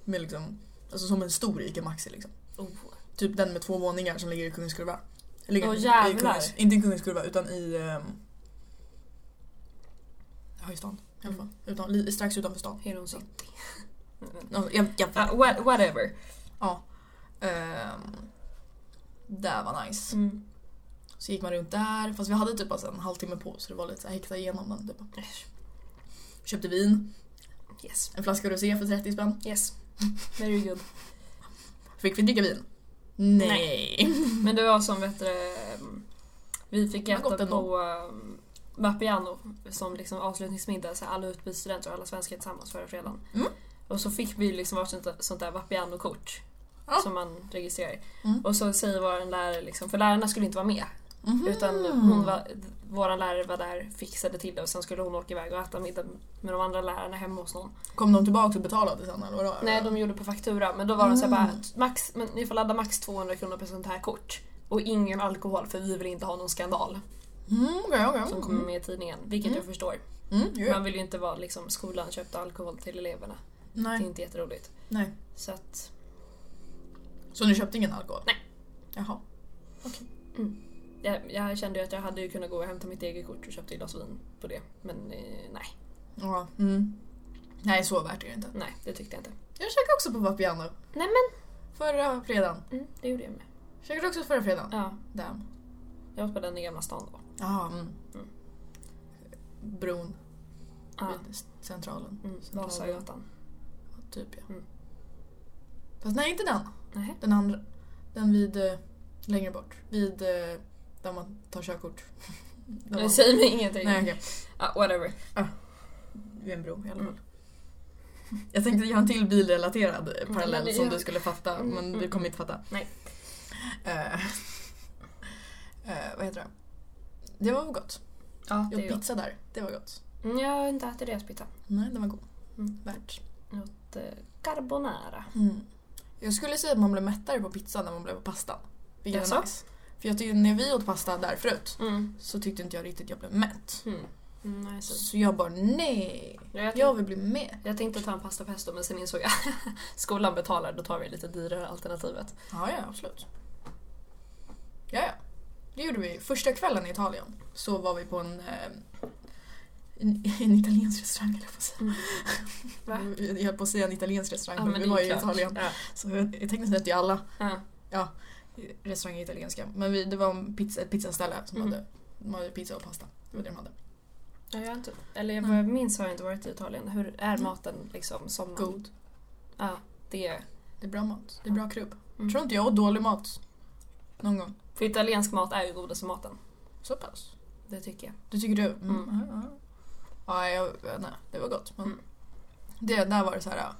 Speaker 1: Med liksom, alltså som en stor ICA Maxi liksom.
Speaker 2: Oh.
Speaker 1: Typ den med två våningar som ligger i Kungens Kurva. Ligger
Speaker 2: Åh,
Speaker 1: i
Speaker 2: jävlar.
Speaker 1: Kungens- inte i Kungens Kurva utan i... Um, ja, i stan i alla fall. Utan, li, strax utanför stan.
Speaker 2: Heron City.
Speaker 1: Ja, Jag, jag,
Speaker 2: Ah, what, whatever.
Speaker 1: Ehm, det var nice.
Speaker 2: Mm.
Speaker 1: Så gick man runt där, fast vi hade typ alltså en halvtimme på oss så det var lite så här, häkta igenom den. Typ.
Speaker 2: Äsch.
Speaker 1: Köpte vin,
Speaker 2: Yes.
Speaker 1: en flaska rosé för 30 spänn.
Speaker 2: Yes. Very good.
Speaker 1: Fick vi dricka vin? Nej.
Speaker 2: Men det var som vet du, ehm, vi fick
Speaker 1: Det har gått
Speaker 2: äta
Speaker 1: ändå.
Speaker 2: på um, Vapiano som liksom avslutningsmiddag, så här, alla utbytesstudenter och alla svenskar tillsammans förra fredagen.
Speaker 1: Mm.
Speaker 2: Och så fick vi liksom varsitt sånt där Vapiano-kort
Speaker 1: Ja.
Speaker 2: som man registrerar.
Speaker 1: Mm.
Speaker 2: Och så säger vår lärare, liksom, för lärarna skulle inte vara med,
Speaker 1: Mhm.
Speaker 2: utan hon var, vår lärare var där, fixade till det och sen skulle hon åka iväg och äta middag med de andra lärarna hemma hos någon.
Speaker 1: Kom de tillbaka och betalade sen eller vadå?
Speaker 2: Nej, de gjorde på faktura, men då var de så här
Speaker 1: Mm.
Speaker 2: bara max, men ni får ladda max 200 kronor på sånt här kort. Och ingen alkohol för vi vill inte ha någon skandal
Speaker 1: Mm, okej, okej.
Speaker 2: som kommer
Speaker 1: Mm,
Speaker 2: med i tidningen. Vilket
Speaker 1: Mm.
Speaker 2: jag förstår.
Speaker 1: mm, ju.
Speaker 2: Man vill ju inte vara liksom skolan köpte alkohol till eleverna. Det är
Speaker 1: Nej,
Speaker 2: inte jätteroligt.
Speaker 1: nej.
Speaker 2: Så att,
Speaker 1: Så ni köpte ingen alkohol?
Speaker 2: Nej.
Speaker 1: Jaha.
Speaker 2: jag, jag kände ju att jag hade ju kunnat gå och hämta mitt eget kort och köpt ett glas vin på det. Men eh, nej,
Speaker 1: Ja, mm. Nej, så värt är det inte.
Speaker 2: nej det tyckte jag inte.
Speaker 1: Jag käkade också på Vapiano
Speaker 2: Nej men,
Speaker 1: förra fredagen.
Speaker 2: mm, det gjorde jag med.
Speaker 1: Käkade också förra fredagen.
Speaker 2: Ja,
Speaker 1: Damn.
Speaker 2: jag åt på den i Gamla stan då.
Speaker 1: Ja, mm.
Speaker 2: Mm.
Speaker 1: Bron
Speaker 2: Ja,
Speaker 1: vid centralen.
Speaker 2: mm,
Speaker 1: Centralen.
Speaker 2: Vasagatan.
Speaker 1: Typ ja.
Speaker 2: Mm.
Speaker 1: Fast nej, inte den.
Speaker 2: Nej.
Speaker 1: Den andra. Den vid... eh, Längre bort. Vid... eh, Där man tar körkort. Där man-
Speaker 2: Det säger mig ingenting.
Speaker 1: Nej, okej.
Speaker 2: Ah, whatever.
Speaker 1: Vid en bro i alla fall.
Speaker 2: Mm.
Speaker 1: Jag tänkte göra en till bilrelaterad parallell
Speaker 2: men det-
Speaker 1: som du skulle fatta,
Speaker 2: Mm,
Speaker 1: men du
Speaker 2: mm,
Speaker 1: kommer inte fatta.
Speaker 2: Nej.
Speaker 1: Eh, eh, vad heter det? Det var gott.
Speaker 2: Ja,
Speaker 1: Jag
Speaker 2: det är
Speaker 1: åt
Speaker 2: gott.
Speaker 1: pizza där. Det var gott.
Speaker 2: Mm, Jag har inte ätit deras pizza.
Speaker 1: Nej, den var god.
Speaker 2: Mm.
Speaker 1: Värt.
Speaker 2: Eh, Carbonara.
Speaker 1: Mm. Jag skulle säga att man blev mättare på pizza när man blev på pasta. Vilket
Speaker 2: Jaså?
Speaker 1: är nice. För jag tyckte när vi åt pasta där förut så tyckte inte jag riktigt jag blev mätt.
Speaker 2: Mm. Mm, nej, så.
Speaker 1: Så jag bara nej,
Speaker 2: Jag, tänkte,
Speaker 1: jag
Speaker 2: jag...
Speaker 1: vill bli med.
Speaker 2: tänkte ta en pasta pesto men sen insåg jag skolan betalar, då tar vi det lite dyrare alternativet.
Speaker 1: Ja, ja, absolut. Ja, ja. Det gjorde vi. Första kvällen i Italien så var vi på en, eh, en, en italiensk restaurang, höll jag på att säga.
Speaker 2: Va?
Speaker 1: Jag höll på att säga en italiensk restaurang,
Speaker 2: Mm. Ja,
Speaker 1: men,
Speaker 2: men
Speaker 1: vi
Speaker 2: det
Speaker 1: var
Speaker 2: är
Speaker 1: ju i
Speaker 2: ju klart.
Speaker 1: Italien.
Speaker 2: Ja.
Speaker 1: Så jag- tekniskt sett är ju alla
Speaker 2: Ja.
Speaker 1: restauranger italienska. Men vi, det var en pizza, ett pizzaställe som
Speaker 2: Mhm.
Speaker 1: hade, de hade pizza och pasta. Det var det de hade.
Speaker 2: Ja, jag har inte, eller jag vad jag minns har jag inte varit i Italien. Hur är
Speaker 1: Mm.
Speaker 2: maten liksom? Som man-
Speaker 1: God.
Speaker 2: Ja, det är...
Speaker 1: Det är bra mat. Det är bra krubb.
Speaker 2: Mm.
Speaker 1: Tror inte jag åt dålig mat. Någon gång.
Speaker 2: För italiensk mat är ju godaste maten.
Speaker 1: Så pass.
Speaker 2: Det tycker jag.
Speaker 1: Det tycker du? Mm.
Speaker 2: Mm.
Speaker 1: ja, ja. Ja, jag, nej, det var gott. Men
Speaker 2: Mm.
Speaker 1: det, där var det så här. ja.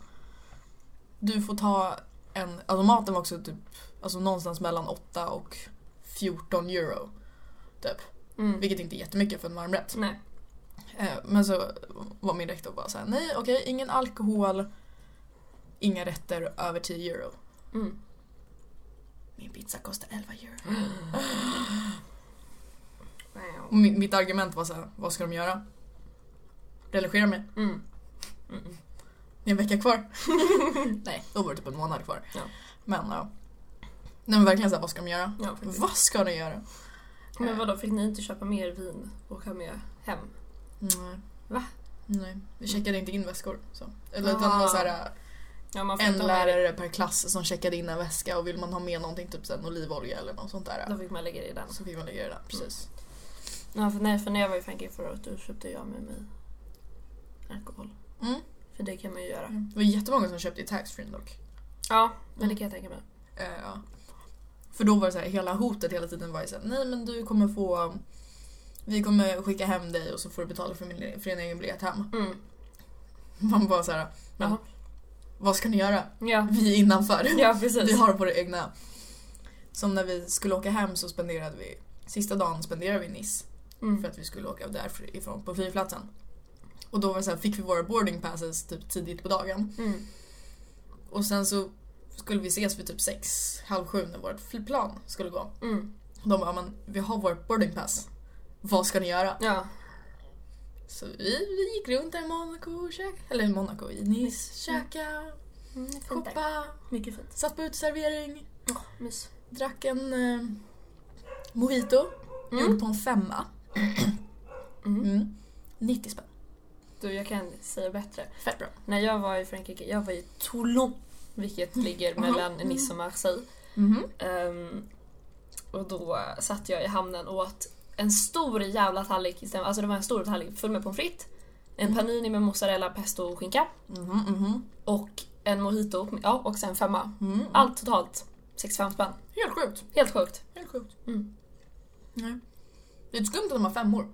Speaker 1: Du får ta en... Alltså maten var också typ alltså någonstans mellan 8 och 14 euro.
Speaker 2: Mm.
Speaker 1: Vilket inte är jättemycket för en varmrätt.
Speaker 2: Nej.
Speaker 1: Eh, Men så var min rektor bara så här, nej okej, ingen alkohol, inga rätter över 10 euro.
Speaker 2: Mm.
Speaker 1: Min pizza kostar 11 euro. Och
Speaker 2: Wow.
Speaker 1: mi- mitt argument var så här, vad ska de göra? Religera mig?
Speaker 2: Mm. Mm.
Speaker 1: Det är en vecka kvar. Nej, då var det typ en månad kvar.
Speaker 2: Ja.
Speaker 1: Men ja. Nej men verkligen såhär, vad ska de göra?
Speaker 2: Ja, faktiskt.
Speaker 1: Vad ska de göra?
Speaker 2: Men vadå, fick ni inte köpa mer vin och ha med hem?
Speaker 1: Nej.
Speaker 2: Va?
Speaker 1: Nej, vi checkade inte in väskor. Så. Eller
Speaker 2: Ah. Alltså,
Speaker 1: utan det var såhär,
Speaker 2: Ja, man får
Speaker 1: en
Speaker 2: inte ha-
Speaker 1: lärare per klass som checkade in en väska och vill man ha med någonting, typ såhär, en olivolja eller något sånt där.
Speaker 2: Då fick man lägga det i den.
Speaker 1: Så fick man lägga det där, precis.
Speaker 2: Ja, för, nej, för när jag var i Frankrike förra året då köpte jag med mig alkohol.
Speaker 1: Mm.
Speaker 2: För det kan man ju göra.
Speaker 1: Det var jättemånga som köpte i taxfree dock.
Speaker 2: Ja, men det kan jag tänka mig.
Speaker 1: Eh, ja. För då var det så här, hela hotet hela tiden var ju såhär, nej men du kommer få, vi kommer skicka hem dig och så får du betala för, min, för din egen biljett hem.
Speaker 2: Mm.
Speaker 1: Man bara såhär, men
Speaker 2: Jaha.
Speaker 1: vad ska ni göra?
Speaker 2: Ja.
Speaker 1: Vi är innanför.
Speaker 2: ja, precis.
Speaker 1: Vi har våra egna. Som när vi skulle åka hem så spenderade vi, sista dagen spenderade vi i Nice
Speaker 2: Mm.
Speaker 1: för att vi skulle åka därifrån på flygplatsen. Och då var det så här, fick vi våra boarding passes typ tidigt på dagen.
Speaker 2: Mm.
Speaker 1: Och sen så skulle vi ses vid typ sex, halv sju när vårt flygplan skulle gå.
Speaker 2: Mm.
Speaker 1: Och de bara, men vi har vårt boarding pass. Vad ska ni göra?
Speaker 2: Ja.
Speaker 1: Så vi, vi gick runt där i Monaco, käk, eller i Monaco, i Nice,
Speaker 2: Mm.
Speaker 1: käka,
Speaker 2: Mm, det är fint där.
Speaker 1: shoppa,
Speaker 2: Mycket fint.
Speaker 1: satt på uteservering,
Speaker 2: Oh, mys.
Speaker 1: drack en eh, mojito, gjorde på en femma.
Speaker 2: Mm.
Speaker 1: Mm. 90 spänn.
Speaker 2: Du, jag kan säga bättre.
Speaker 1: Fett bra.
Speaker 2: När jag var i Frankrike, jag var i Toulon, vilket ligger mellan
Speaker 1: Mm.
Speaker 2: Nice och Marseille.
Speaker 1: Mhm.
Speaker 2: Ehm, och då satt jag i hamnen och åt en stor jävla tallrik istället. Alltså det var en stor tallrik full med pommes frites, en panini med mozzarella, pesto och skinka
Speaker 1: Mhm, mhm,
Speaker 2: och en mojito ja, och sen femma.
Speaker 1: mhm.
Speaker 2: Allt totalt 65 spänn.
Speaker 1: Helt sjukt.
Speaker 2: Helt sjukt.
Speaker 1: Helt sjukt.
Speaker 2: Mm.
Speaker 1: Nej. Det är skumt att de har femmor.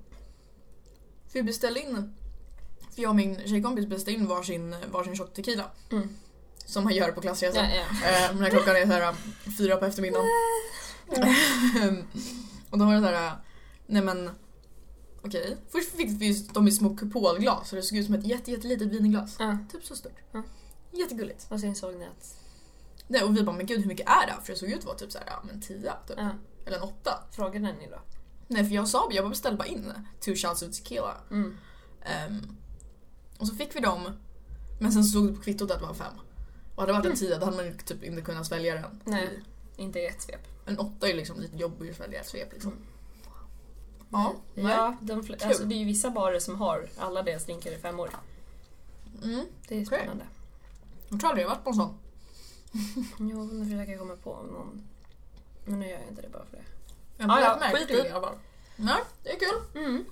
Speaker 1: För vi beställde in, för jag och min tjejkompis beställde in varsin, varsin shot tequila.
Speaker 2: Mm.
Speaker 1: Som man gör på klassresan.
Speaker 2: Ja, ja.
Speaker 1: Eh, när klockan är såhär fyra på eftermiddagen. och då var det såhär, nej men okej. Först fick vi ju de i små kupolglas så det såg ut som ett jätte, jättelitet vinglas.
Speaker 2: Ja.
Speaker 1: Typ så stort.
Speaker 2: Ja.
Speaker 1: Jättegulligt.
Speaker 2: Och sen såg ni att
Speaker 1: Nej, och vi bara, men gud hur mycket är det? här? För det såg ut att vara typ såhär, ja men tia typ.
Speaker 2: ja,
Speaker 1: Eller en åtta.
Speaker 2: frågade ni då?
Speaker 1: Nej för jag sa, jag bara beställde bara in two shots of tequila.
Speaker 2: Mm.
Speaker 1: Ehm, och så fick vi dem, men sen såg det på kvittot att det var en fem. Och hade det varit en tia då hade man ju typ inte kunnat svälja den.
Speaker 2: Mm. Nej, inte i ett svep.
Speaker 1: En åtta är ju liksom lite jobbig att svälja ett svep liksom.
Speaker 2: Mm.
Speaker 1: Ja.
Speaker 2: Ja, de fl- alltså,
Speaker 1: Kul.
Speaker 2: det är ju vissa barer som har alla deras drinkar i fem år.
Speaker 1: Mm.
Speaker 2: Det
Speaker 1: Okej.
Speaker 2: är spännande.
Speaker 1: Jag tror aldrig jag varit på en sån.
Speaker 2: Jo, nu försöker jag komma på någon. Men nu gör jag inte det bara för det.
Speaker 1: Jag
Speaker 2: Ja, ja,
Speaker 1: lagt märke
Speaker 2: skit
Speaker 1: till
Speaker 2: i.
Speaker 1: det i alla fall. Nej, det är kul.
Speaker 2: Mm.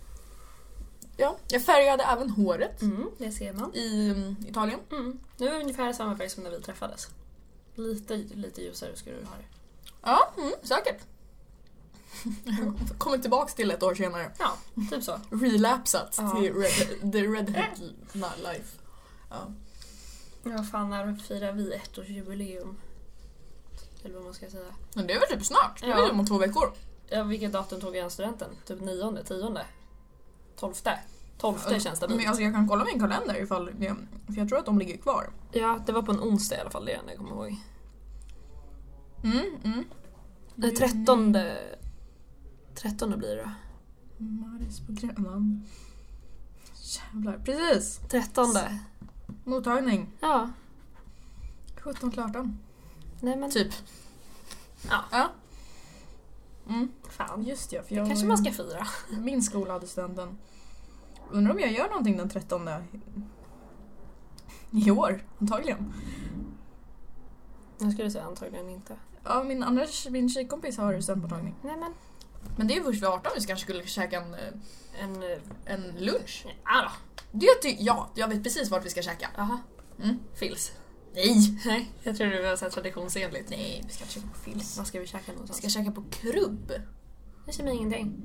Speaker 1: Ja. Jag färgade även håret
Speaker 2: Mm, det ser man.
Speaker 1: i mm, Italien.
Speaker 2: Mm. Nu är det ungefär samma färg som när vi träffades. Lite, lite ljusare skulle du ha det.
Speaker 1: Ja, mm, säkert. Kommer tillbaks till ett år senare.
Speaker 2: Ja, typ så.
Speaker 1: Relapsat
Speaker 2: Ja.
Speaker 1: till red, the redhead li- life. Ja.
Speaker 2: Ja, fan när firar vi ettårsjubileum? Eller vad man ska säga.
Speaker 1: Men det är väl typ snart? Det är
Speaker 2: Ja.
Speaker 1: väl om två veckor?
Speaker 2: Ja, vilket datum tog jag studenten? Typ nionde, tionde? Tolfte? Tolfte känns det
Speaker 1: Men
Speaker 2: men...
Speaker 1: alltså, jag kan kolla min kalender ifall det, för jag tror att de ligger kvar.
Speaker 2: Ja, det var på en onsdag i alla fall, det är jag kommer ihåg.
Speaker 1: Mm, mm.
Speaker 2: Nej, Eh, trettonde... Trettonde blir det då.
Speaker 1: Maris på Grönland. Jävlar, precis!
Speaker 2: Trettonde.
Speaker 1: Mottagning.
Speaker 2: Ja.
Speaker 1: 17 till 18.
Speaker 2: Nej men...
Speaker 1: Typ.
Speaker 2: Ja.
Speaker 1: ja. Mm.
Speaker 2: Fan.
Speaker 1: Just ja, för
Speaker 2: Det
Speaker 1: jag
Speaker 2: kanske man ska fira.
Speaker 1: min skola hade studenten. Undrar om jag gör någonting den 13 i år, antagligen.
Speaker 2: Jag skulle säga antagligen inte.
Speaker 1: Ja, min, andra, min tjejkompis har studentmottagning.
Speaker 2: Nej men...
Speaker 1: Men det är först vid 18 vi kanske skulle käka en, eh,
Speaker 2: En... eh,
Speaker 1: en lunch.
Speaker 2: Ja då.
Speaker 1: Det ty- ja, jag vet precis vart vi ska käka.
Speaker 2: Jaha.
Speaker 1: Mm.
Speaker 2: Fils.
Speaker 1: Nej!
Speaker 2: Nej, jag tror det var så här traditionsenligt.
Speaker 1: Nej, vi ska inte käka på Fils.
Speaker 2: Vad ska vi käka
Speaker 1: Vi
Speaker 2: någonstans?
Speaker 1: ska käka på Krubb.
Speaker 2: Det känner jag ingenting.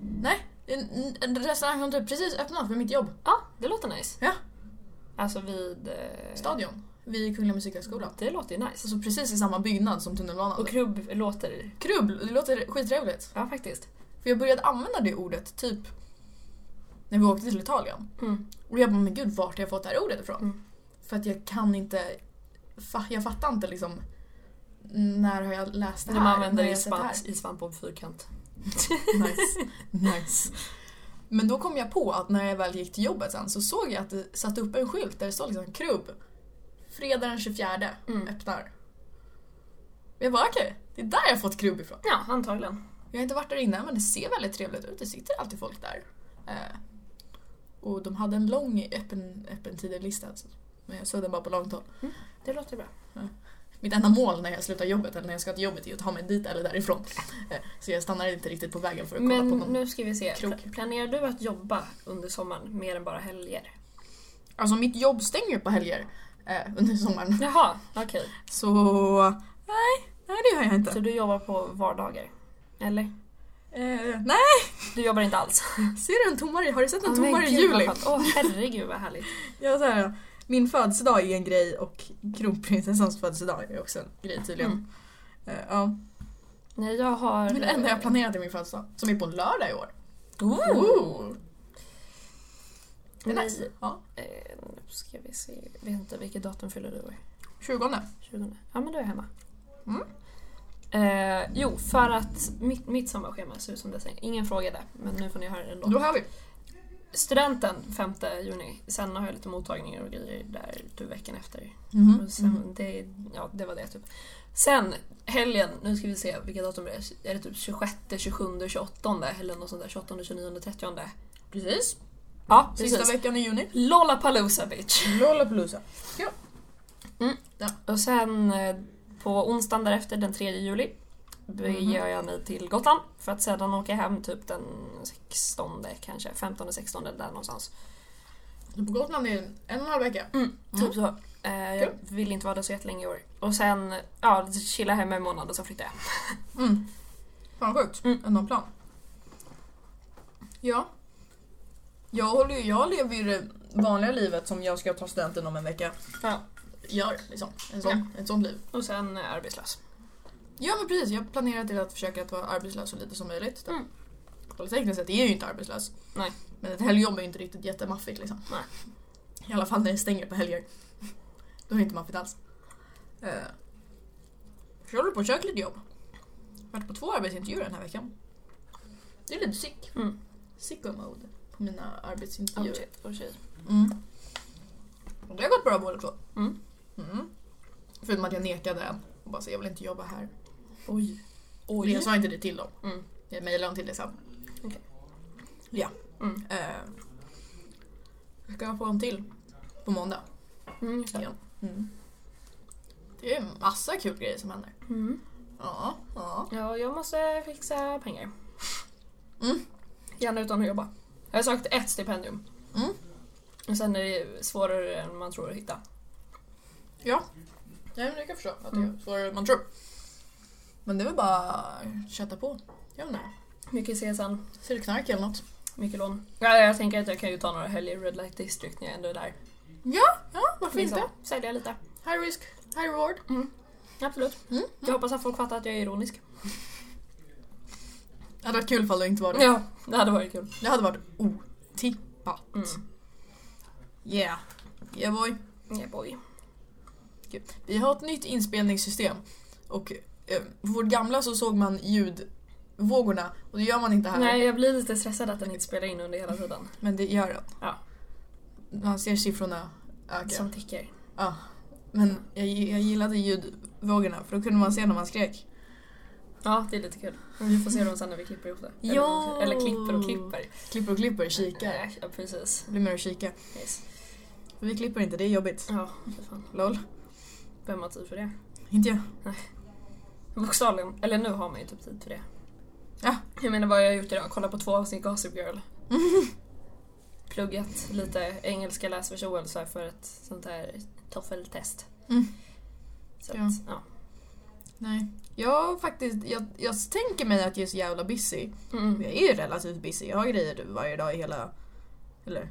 Speaker 1: En, en restaurang som typ precis öppnat för mitt jobb.
Speaker 2: Ja, det låter nice.
Speaker 1: Ja.
Speaker 2: Alltså vid... Eh...
Speaker 1: Stadion. Vid Kungliga Musikhögskolan.
Speaker 2: Det låter ju nice.
Speaker 1: Alltså precis i samma byggnad som tunnelbanan.
Speaker 2: Och krubb låter...
Speaker 1: Krubb, det låter skittrevligt.
Speaker 2: Ja, faktiskt.
Speaker 1: För jag började använda det ordet typ när vi åkte till Italien.
Speaker 2: Mm.
Speaker 1: Och jag bara, men gud vart har jag fått det här ordet ifrån?
Speaker 2: Mm.
Speaker 1: För att jag kan inte, fa- jag fattar inte liksom när har jag läst det
Speaker 2: När
Speaker 1: här?
Speaker 2: man
Speaker 1: När
Speaker 2: använder
Speaker 1: har
Speaker 2: i
Speaker 1: jag sett det
Speaker 2: svamp,
Speaker 1: här?
Speaker 2: i svamp och fyrkant.
Speaker 1: Nice. nice. Men då kom jag på att när jag väl gick till jobbet sen så såg jag att det satt upp en skylt där det stod liksom krubb. Fredag den 24
Speaker 2: Mm.
Speaker 1: öppnar. Jag bara okej, det är där jag fått krubb ifrån.
Speaker 2: Ja, antagligen.
Speaker 1: Jag har inte varit där innan men det ser väldigt trevligt ut. Det sitter alltid folk där. Eh, och de hade en lång öppen, öppen tiderlista. Alltså. Men jag såg den bara på långt håll.
Speaker 2: Det låter bra.
Speaker 1: Mitt enda mål när jag slutar jobbet eller när jag ska till jobbet är att ta mig dit eller därifrån. Eh, så jag stannar inte riktigt på vägen för att kolla
Speaker 2: Men
Speaker 1: på någon.
Speaker 2: nu ska vi se.
Speaker 1: krok.
Speaker 2: Pla- Planerar du att jobba under sommaren mer än bara helger?
Speaker 1: Alltså mitt jobb stänger ju på helger eh, under sommaren.
Speaker 2: Jaha, okej.
Speaker 1: Så nej, nej det gör jag inte.
Speaker 2: Så du jobbar på vardagar? Eller?
Speaker 1: Eh, nej,
Speaker 2: Du jobbar inte alls?
Speaker 1: ser du en tommare? Har du sett en
Speaker 2: Ja,
Speaker 1: tommare
Speaker 2: men
Speaker 1: i
Speaker 2: gud,
Speaker 1: juli?
Speaker 2: vad skönt. Åh herregud vad härligt.
Speaker 1: Jag så här, min födelsedag är en grej och kronprinsessans födelsedag är också en grej tydligen.
Speaker 2: Mm.
Speaker 1: Eh, ja.
Speaker 2: Nej, jag har...
Speaker 1: Men det enda jag planerat är min födelsedag, som är på en lördag i år. Ooh. Det är
Speaker 2: Nej,
Speaker 1: nice. Ja.
Speaker 2: eh, nu ska vi se. Jag vet inte, vilket datum fyller du år?
Speaker 1: 20.
Speaker 2: 20. Ja men då är jag hemma.
Speaker 1: Mm.
Speaker 2: Eh, jo, för att mitt, mitt sommarschema ser ut som det säger. Ingen frågade, men nu får ni höra det ändå.
Speaker 1: Då har vi.
Speaker 2: Studenten 5 juni. Sen har jag lite mottagningar och grejer där du veckan efter.
Speaker 1: Mm.
Speaker 2: Och
Speaker 1: Mm-hmm.
Speaker 2: sen, det, ja, det var det typ. Sen helgen, nu ska vi se vilka datum det är. Är det typ 26, 27, 28 eller något sånt där? 28, 29, 30?
Speaker 1: Precis.
Speaker 2: Ja,
Speaker 1: Sista
Speaker 2: precis.
Speaker 1: veckan i juni.
Speaker 2: Lollapalooza bitch!
Speaker 1: Lollapalooza. Ja.
Speaker 2: Och sen eh, på onsdagen därefter, den 3 juli, beger jag mig till Gotland för att sedan åka hem typ den 16 kanske, 15, 16 där någonstans.
Speaker 1: På Gotland är det en och en halv vecka.
Speaker 2: Typ så. Eh, jag
Speaker 1: Mm. Kul.
Speaker 2: vill inte vara där så jättelänge i år. Och sen, ja, chilla hemma en månad och så flyttar jag.
Speaker 1: Mm. Fan vad sjukt.
Speaker 2: Mm.
Speaker 1: Ändå en plan. Ja. Jag, håller, ju- jag lever ju det vanliga livet som jag ska ta studenten om en vecka.
Speaker 2: Ja.
Speaker 1: Gör liksom. En sån, Ett sånt liv.
Speaker 2: Och sen är jag arbetslös.
Speaker 1: Ja men precis, jag planerar till att försöka att vara arbetslös så lite som möjligt.
Speaker 2: Mm.
Speaker 1: Och tekniskt sett är jag ju inte arbetslös.
Speaker 2: Nej.
Speaker 1: Men ett helgjobb är ju inte riktigt jättemaffigt liksom.
Speaker 2: Nej.
Speaker 1: I alla fall när det stänger på helger. Då är det inte maffigt alls. Uh. Jag håller på och söker lite jobb. Varit på två arbetsintervjuer den här veckan. Det är lite sick.
Speaker 2: Mm.
Speaker 1: Sicko mode på mina
Speaker 2: Oh,
Speaker 1: arbetsintervjuer.
Speaker 2: shit, oh, shit.
Speaker 1: Mm. Och det har gått bra båda två.
Speaker 2: Mm.
Speaker 1: Mm. Förutom att jag nekade en. Och bara så, jag vill inte jobba här.
Speaker 2: Oj.
Speaker 1: Men
Speaker 2: Oj.
Speaker 1: jag sa inte det till dem.
Speaker 2: Mm.
Speaker 1: Jag mejlade dem till det sen.
Speaker 2: Okej.
Speaker 1: Ja.
Speaker 2: Mm.
Speaker 1: Eh, jag ska få en till på måndag
Speaker 2: Mm, just det.
Speaker 1: igen. Det är en massa kul grejer som händer.
Speaker 2: Mm.
Speaker 1: Ja, ja.
Speaker 2: Ja, jag måste fixa pengar.
Speaker 1: Mm.
Speaker 2: Gärna utan att jobba. Jag har sökt ett stipendium.
Speaker 1: Mm.
Speaker 2: Och sen är det svårare än man tror att hitta.
Speaker 1: Ja. Ja, men jag kan förstå att det är
Speaker 2: Mm.
Speaker 1: svårare än man tror. Men det är väl bara att köta på. Jag vet inte.
Speaker 2: Mycket CSN,
Speaker 1: Ser du knark eller något?
Speaker 2: mycket lån. Ja, jag tänker att jag kan ju ta några helger i Red Light District när jag ändå är där.
Speaker 1: Ja, varför inte?
Speaker 2: Liksom, Sälja lite.
Speaker 1: High risk, high reward.
Speaker 2: Absolut.
Speaker 1: Mm.
Speaker 2: Jag hoppas att folk fattar att jag är ironisk.
Speaker 1: Det hade varit kul ifall du inte var det.
Speaker 2: Ja, det hade varit kul.
Speaker 1: Det hade varit otippat.
Speaker 2: Mm.
Speaker 1: Yeah. Yeah boy.
Speaker 2: Yeah boy.
Speaker 1: Vi har ett nytt inspelningssystem. Och eh, på vårt gamla så såg man ljudvågorna och det gör man inte här.
Speaker 2: Nej, jag blir lite stressad att den inte spelar in under hela tiden.
Speaker 1: Men det gör den.
Speaker 2: Ja.
Speaker 1: Man ser siffrorna öka.
Speaker 2: Som ticker.
Speaker 1: Ja. Men jag, jag gillade ljudvågorna för då kunde man se när man skrek.
Speaker 2: Ja, det är lite kul. Men vi får se dem sen när vi klipper ihop det. Eller-
Speaker 1: Ja.
Speaker 2: Eller klipper och klipper.
Speaker 1: Klipper och klipper, kikar.
Speaker 2: Ja, precis.
Speaker 1: Det blir mer att kika.
Speaker 2: Yes.
Speaker 1: För vi klipper inte, det är jobbigt.
Speaker 2: Ja, för fan.
Speaker 1: LOL.
Speaker 2: Vem har tid för det?
Speaker 1: Inte jag.
Speaker 2: Bokstavligen. Eller nu har man ju typ tid för det.
Speaker 1: Ja.
Speaker 2: Jag menar vad har jag gjort idag? Kolla på två avsnitt Gossip Girl. Pluggat lite engelska läsförståelse för ett sånt här toffeltest.
Speaker 1: Mm.
Speaker 2: Så
Speaker 1: Ja.
Speaker 2: att, ja.
Speaker 1: Nej. Jag faktiskt, jag, jag tänker mig att jag är så jävla busy.
Speaker 2: Mm.
Speaker 1: Jag är ju relativt busy. Jag har grejer varje dag i hela... Eller...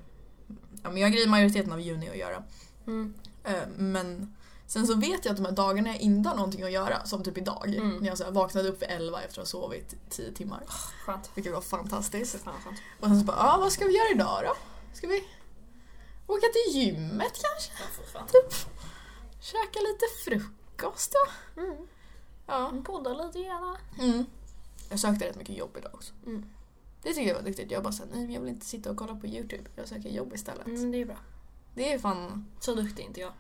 Speaker 1: Ja, men jag har grejer majoriteten av juni att göra.
Speaker 2: Mm.
Speaker 1: Eh, Men sen så vet jag att de här dagarna jag inte har någonting att göra, som typ idag,
Speaker 2: Mm.
Speaker 1: när jag så här vaknade upp vid 11 efter att ha sovit 10 timmar,
Speaker 2: Skönt.
Speaker 1: vilket var fantastiskt.
Speaker 2: Fan vad skönt.
Speaker 1: Och sen så bara, ja ah, vad ska vi göra idag då? Ska vi åka till gymmet kanske?
Speaker 2: Ja, för fan.
Speaker 1: Käka lite frukost då?
Speaker 2: Mm.
Speaker 1: Ja.
Speaker 2: Podda lite gärna.
Speaker 1: Mm. Jag sökte rätt mycket jobb idag också.
Speaker 2: Mm.
Speaker 1: Det tyckte jag var duktigt. Jag bara såhär, nej men jag vill inte sitta och kolla på YouTube. Jag söker jobb istället.
Speaker 2: Mm, det är bra.
Speaker 1: Det är fan
Speaker 2: Så duktig är inte jag.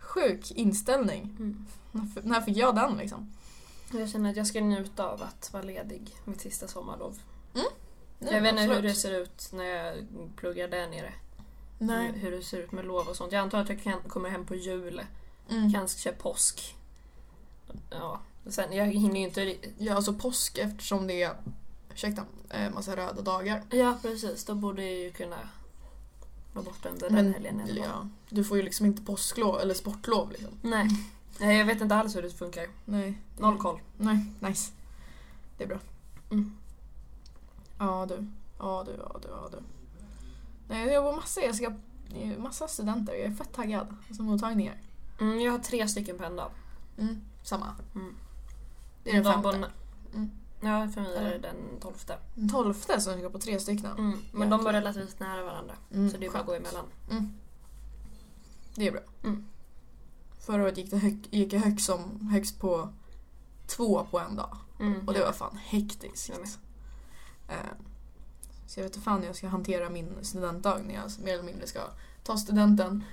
Speaker 1: sjuk inställning.
Speaker 2: Mm.
Speaker 1: När f- När fick jag den liksom?
Speaker 2: Jag känner att jag ska njuta av att vara ledig mitt sista sommarlov.
Speaker 1: Nej,
Speaker 2: jag vet inte hur
Speaker 1: absolut.
Speaker 2: det ser ut när jag pluggar där nere.
Speaker 1: Nej.
Speaker 2: Hur det ser ut med lov och sånt. Jag antar att jag kan, kommer hem på jul.
Speaker 1: Mm.
Speaker 2: Kanske påsk. Ja. Sen, jag hinner ju inte... ri-
Speaker 1: Ja, alltså påsk eftersom det är, ursäkta, eh, massa röda dagar.
Speaker 2: Ja, precis. Då borde jag ju kunna vara borta under den
Speaker 1: Men-
Speaker 2: helgen. i alla fall.
Speaker 1: Ja, du får ju liksom inte påsklov eller sportlov liksom.
Speaker 2: Nej. Nej, jag vet inte alls hur det funkar.
Speaker 1: Nej. det-
Speaker 2: Noll koll.
Speaker 1: Nej, nice. Det är bra.
Speaker 2: Mm.
Speaker 1: Ja du, ja du, ja du, ja du. Nej, jag jobbar massa, jag ska, det är massa studenter, jag är fett taggad. Alltså mottagningar.
Speaker 2: Mm, jag har tre stycken på en dag.
Speaker 1: Mm, samma.
Speaker 2: Mm.
Speaker 1: Det är den
Speaker 2: De
Speaker 1: femte.
Speaker 2: på en-
Speaker 1: Mm.
Speaker 2: Ja, för mig är det
Speaker 1: Eller?
Speaker 2: den tolfte.
Speaker 1: Den tolfte som ska på tre stycken.
Speaker 2: Mm. Men de
Speaker 1: Jäklar.
Speaker 2: var relativt nära varandra.
Speaker 1: Mm,
Speaker 2: Så det är bara att gå emellan.
Speaker 1: Det är bra.
Speaker 2: Mm.
Speaker 1: Förra året gick, det hög, gick jag högst, som, högst på två på en dag.
Speaker 2: Mm.
Speaker 1: Och det var fan hektiskt.
Speaker 2: Jag med.
Speaker 1: Eh, Så jag vet inte fan hur jag ska hantera min studentdag när jag mer eller mindre ska ta studenten,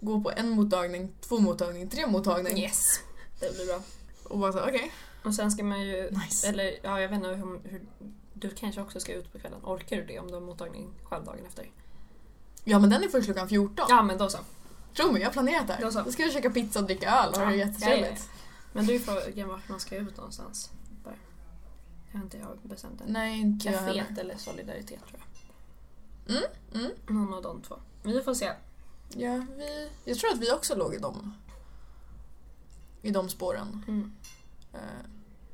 Speaker 1: gå på en mottagning, två mottagning, tre mottagning
Speaker 2: Yes. Det blir bra.
Speaker 1: och bara så här, okej,
Speaker 2: Och sen ska man ju
Speaker 1: nice.
Speaker 2: Eller ja, jag vet inte hur, hur... Du kanske också ska ut på kvällen. Orkar du det om du har mottagning själv dagen efter?
Speaker 1: Ja men den är först klockan 14.
Speaker 2: Ja, men då så.
Speaker 1: Tro mig, jag har planerat det
Speaker 2: Då så.
Speaker 1: här. Då ska vi käka pizza och dricka öl och ha det
Speaker 2: Ja,
Speaker 1: jättetrevligt.
Speaker 2: Men du är ju frågan vart man ska ut någonstans. Bara. Jag har inte jag bestämt än.
Speaker 1: Nej, inte jag heller.
Speaker 2: Caféet eller Solidaritet tror jag.
Speaker 1: mm.
Speaker 2: Någon av de två. Vi får se.
Speaker 1: Ja, vi... Jag tror att vi också låg i de, i de spåren.
Speaker 2: Mm.
Speaker 1: Eh,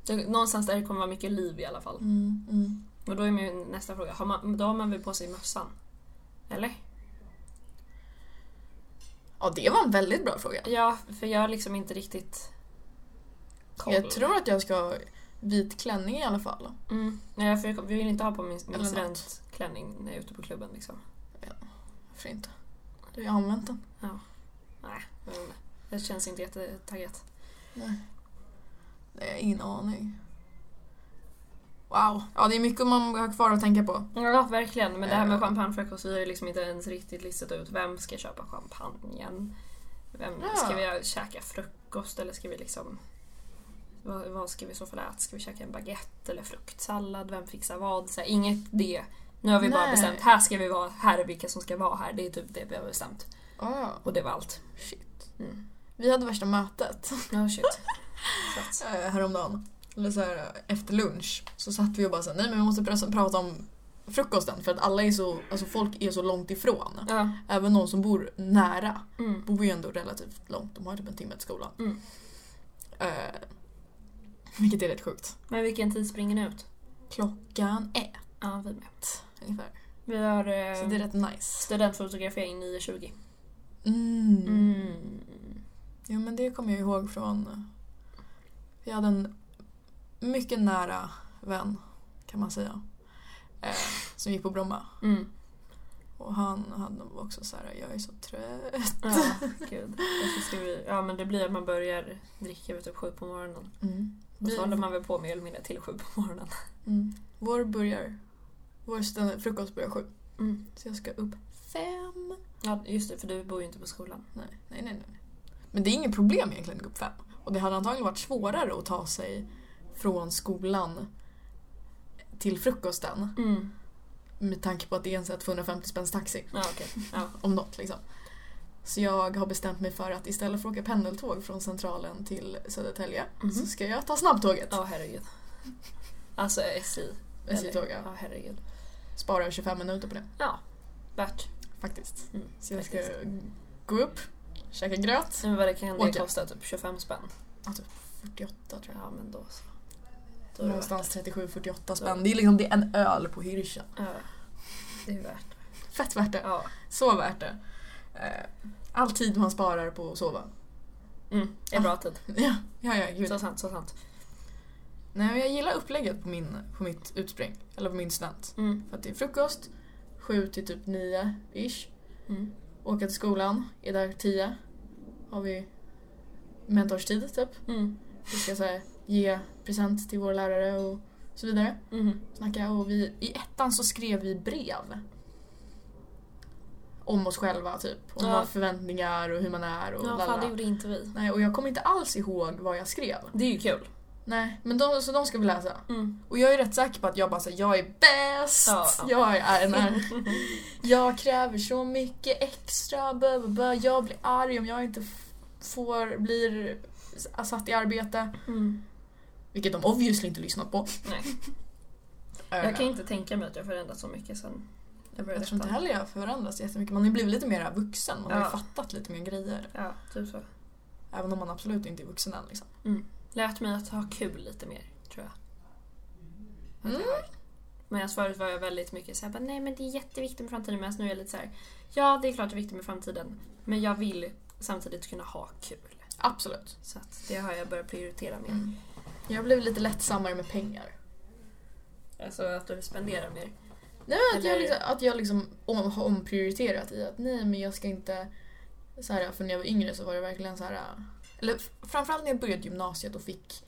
Speaker 2: Det- Någonstans där det kommer vara mycket liv i alla fall.
Speaker 1: Mm, mm.
Speaker 2: Och då är min nästa fråga, har man, då har man väl på sig mössan? Eller?
Speaker 1: Ja, det var en väldigt bra fråga.
Speaker 2: Ja, för jag har liksom inte riktigt koll.
Speaker 1: Jag tror att jag ska ha vit klänning i alla fall.
Speaker 2: Mm. Nej, för jag vi vill inte ha på min,
Speaker 1: Eller
Speaker 2: min
Speaker 1: något.
Speaker 2: studentklänning när jag är ute på klubben. Liksom.
Speaker 1: Varför inte? Du har ju använt den.
Speaker 2: Men det känns inte jättetaggat.
Speaker 1: Nej, jag har ingen aning. Wow. Ja, det är mycket man har kvar att tänka på.
Speaker 2: Ja, verkligen. Men det här med
Speaker 1: Eh.
Speaker 2: champagnefrukost, vi har ju liksom inte ens riktigt listat ut vem ska köpa champagnen? Vem,
Speaker 1: Ja.
Speaker 2: Ska vi käka frukost eller ska vi liksom... Vad, vad ska vi i så fall äta? Ska vi käka en baguette eller fruktsallad? Vem fixar vad? Så här, inget det. Nu har vi bara
Speaker 1: Nej.
Speaker 2: bestämt, här ska vi vara, här är vilka som ska vara här. Det är typ det vi har bestämt.
Speaker 1: Ja,
Speaker 2: Och det var allt.
Speaker 1: Ah, shit.
Speaker 2: Mm.
Speaker 1: Vi hade värsta mötet
Speaker 2: Oh, shit. Plats.
Speaker 1: eh, häromdagen. Eller så här, eh, efter lunch så satt vi och bara så här, nej men vi måste pr- prata om frukosten för att alla är så, alltså folk är så långt ifrån.
Speaker 2: Ja.
Speaker 1: Även de som bor nära
Speaker 2: Mm.
Speaker 1: bor ju ändå relativt långt, de har typ en timme till skolan.
Speaker 2: Mm.
Speaker 1: Eh, vilket är rätt sjukt.
Speaker 2: Men vilken tid springer ni ut?
Speaker 1: Klockan ett
Speaker 2: Ja, vi med.
Speaker 1: ungefär.
Speaker 2: Vi har
Speaker 1: Så det är
Speaker 2: eh,
Speaker 1: rätt nice.
Speaker 2: studentfotografering 9.20.
Speaker 1: Mm.
Speaker 2: Mm.
Speaker 1: Jo men det kommer jag ihåg från... Vi hade en mycket nära vän kan man säga. Eh, som gick på Bromma.
Speaker 2: Mm.
Speaker 1: Och han, han var också så här, jag är så trött.
Speaker 2: Ja, gud. Och så ska vi, ja, men det blir att man börjar dricka vid typ sju på morgonen.
Speaker 1: Mm.
Speaker 2: Och
Speaker 1: Vi-
Speaker 2: så håller man väl på mer eller mindre till sju på morgonen.
Speaker 1: Mm. Vår börjar... Vår stund, frukost börjar sju.
Speaker 2: Mm.
Speaker 1: Så jag ska upp fem.
Speaker 2: Ja, just det, för du bor ju inte på skolan.
Speaker 1: Nej, nej, nej. nej. Men det är inget problem egentligen att gå upp fem. Och det hade antagligen varit svårare att ta sig från skolan till frukosten
Speaker 2: Mm.
Speaker 1: med tanke på att det är en så här 250 spänns taxi.
Speaker 2: Ja, okej. Ja.
Speaker 1: Om något liksom. Så jag har bestämt mig för att istället för att åka pendeltåg från Centralen till Södertälje
Speaker 2: Mhm.
Speaker 1: så ska jag ta snabbtåget.
Speaker 2: Ja, herregud. Alltså SJ.
Speaker 1: SJ-tåg, ja.
Speaker 2: Ja, herregud.
Speaker 1: Sparar 25 minuter på det
Speaker 2: Ja, värt.
Speaker 1: faktiskt.
Speaker 2: Mm.
Speaker 1: Så jag ska
Speaker 2: faktiskt.
Speaker 1: gå upp, käka gröt.
Speaker 2: Nej, Men vad det kan det
Speaker 1: Åka.
Speaker 2: kosta typ 25 spänn.
Speaker 1: 48 tror jag.
Speaker 2: Ja, men då så. Då är det värt
Speaker 1: Någonstans 37-48 spänn. Det är liksom det är en öl på Hyrschen.
Speaker 2: det. Ja, det är värt det.
Speaker 1: Fett värt det.
Speaker 2: Ja.
Speaker 1: Så värt det. Eh, All tid man sparar på att sova.
Speaker 2: Mm, det är bra tid.
Speaker 1: Ja, ja, ja gud.
Speaker 2: Så sant, så sant.
Speaker 1: Nej, men jag gillar upplägget på, min, på mitt utspring. Eller på min student.
Speaker 2: Mm.
Speaker 1: För att det är frukost, sju till typ nio ish.
Speaker 2: Mm.
Speaker 1: Åka till skolan, är där tio. Har vi mentorstid typ.
Speaker 2: Mm.
Speaker 1: Vi ska så här, ge present till vår lärare och så vidare.
Speaker 2: Mm.
Speaker 1: Snacka och vi, i ettan så skrev vi brev. Om oss själva typ. Om
Speaker 2: Ja.
Speaker 1: våra förväntningar och hur man är och
Speaker 2: Ja, fan det
Speaker 1: lalala.
Speaker 2: gjorde inte vi.
Speaker 1: Nej, och jag kommer inte alls ihåg vad jag skrev.
Speaker 2: Det är ju kul.
Speaker 1: Nej, men de, så de ska vi läsa.
Speaker 2: Mm,
Speaker 1: Och jag är rätt säker på att jag bara säger jag är bäst!
Speaker 2: Ja, ja.
Speaker 1: Jag är en här. Jag kräver så mycket extra, bö, bö, bö. jag blir arg om jag inte f- får, blir s- satt i arbete.
Speaker 2: Mm.
Speaker 1: Vilket de obviously inte lyssnat på.
Speaker 2: Nej.
Speaker 1: Eh,
Speaker 2: Jag kan inte tänka mig att jag förändrats så mycket sen jag började
Speaker 1: jag tror inte
Speaker 2: ettan.
Speaker 1: heller jag har förändrats jättemycket. Man har ju blivit lite mer vuxen, man har ju
Speaker 2: Ja.
Speaker 1: fattat lite mer grejer.
Speaker 2: Ja, typ så.
Speaker 1: Även om man absolut inte är vuxen än. Liksom.
Speaker 2: Lärt mig att ha kul lite mer, tror jag. Att
Speaker 1: Mm.
Speaker 2: jag har. Medan förut var jag väldigt mycket såhär, nej men det är jätteviktigt med framtiden. Medan nu är jag lite såhär, ja det är klart det är viktigt med framtiden. Men jag vill samtidigt kunna ha kul.
Speaker 1: Absolut.
Speaker 2: Så att det har jag börjat prioritera mer.
Speaker 1: Mm. Jag har blivit lite lättsammare med pengar.
Speaker 2: Alltså att du spenderar mer.
Speaker 1: Nej, men att, jag
Speaker 2: Eller-
Speaker 1: liksom, att jag liksom om, har omprioriterat i att nej men jag ska inte... Så här, för när jag var yngre så var det verkligen så här... Eller f- framförallt när jag började gymnasiet och fick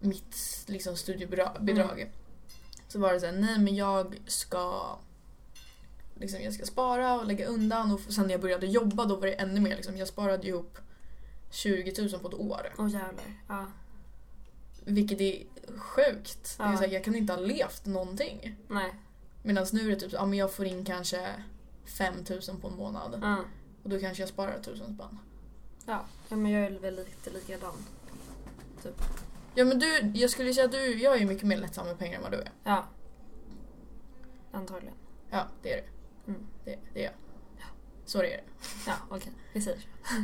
Speaker 1: mitt liksom,
Speaker 2: Mm.
Speaker 1: studiebidrag. Så var det så här, nej men jag ska... Liksom, jag ska spara och lägga undan och f- sen när jag började jobba då var det ännu mer liksom, jag sparade ihop 20 000 på ett år.
Speaker 2: Åh jävlar. Ja.
Speaker 1: Vilket är sjukt. Det är
Speaker 2: Ja.
Speaker 1: så här, jag kan inte ha levt någonting.
Speaker 2: Nej.
Speaker 1: Medan nu är det typ så, ja men jag får in kanske 5000 på en månad
Speaker 2: Ja.
Speaker 1: och då kanske jag sparar 1000 spänn.
Speaker 2: ja. Ja men jag är väl lite likadan.
Speaker 1: Ja men du, jag skulle säga att du, jag är mycket mer lättsam med pengar än vad du är.
Speaker 2: Ja. Antagligen.
Speaker 1: Ja, det är det.
Speaker 2: Mm.
Speaker 1: Det, det är jag. Så är det.
Speaker 2: Ja okej, vi säger så.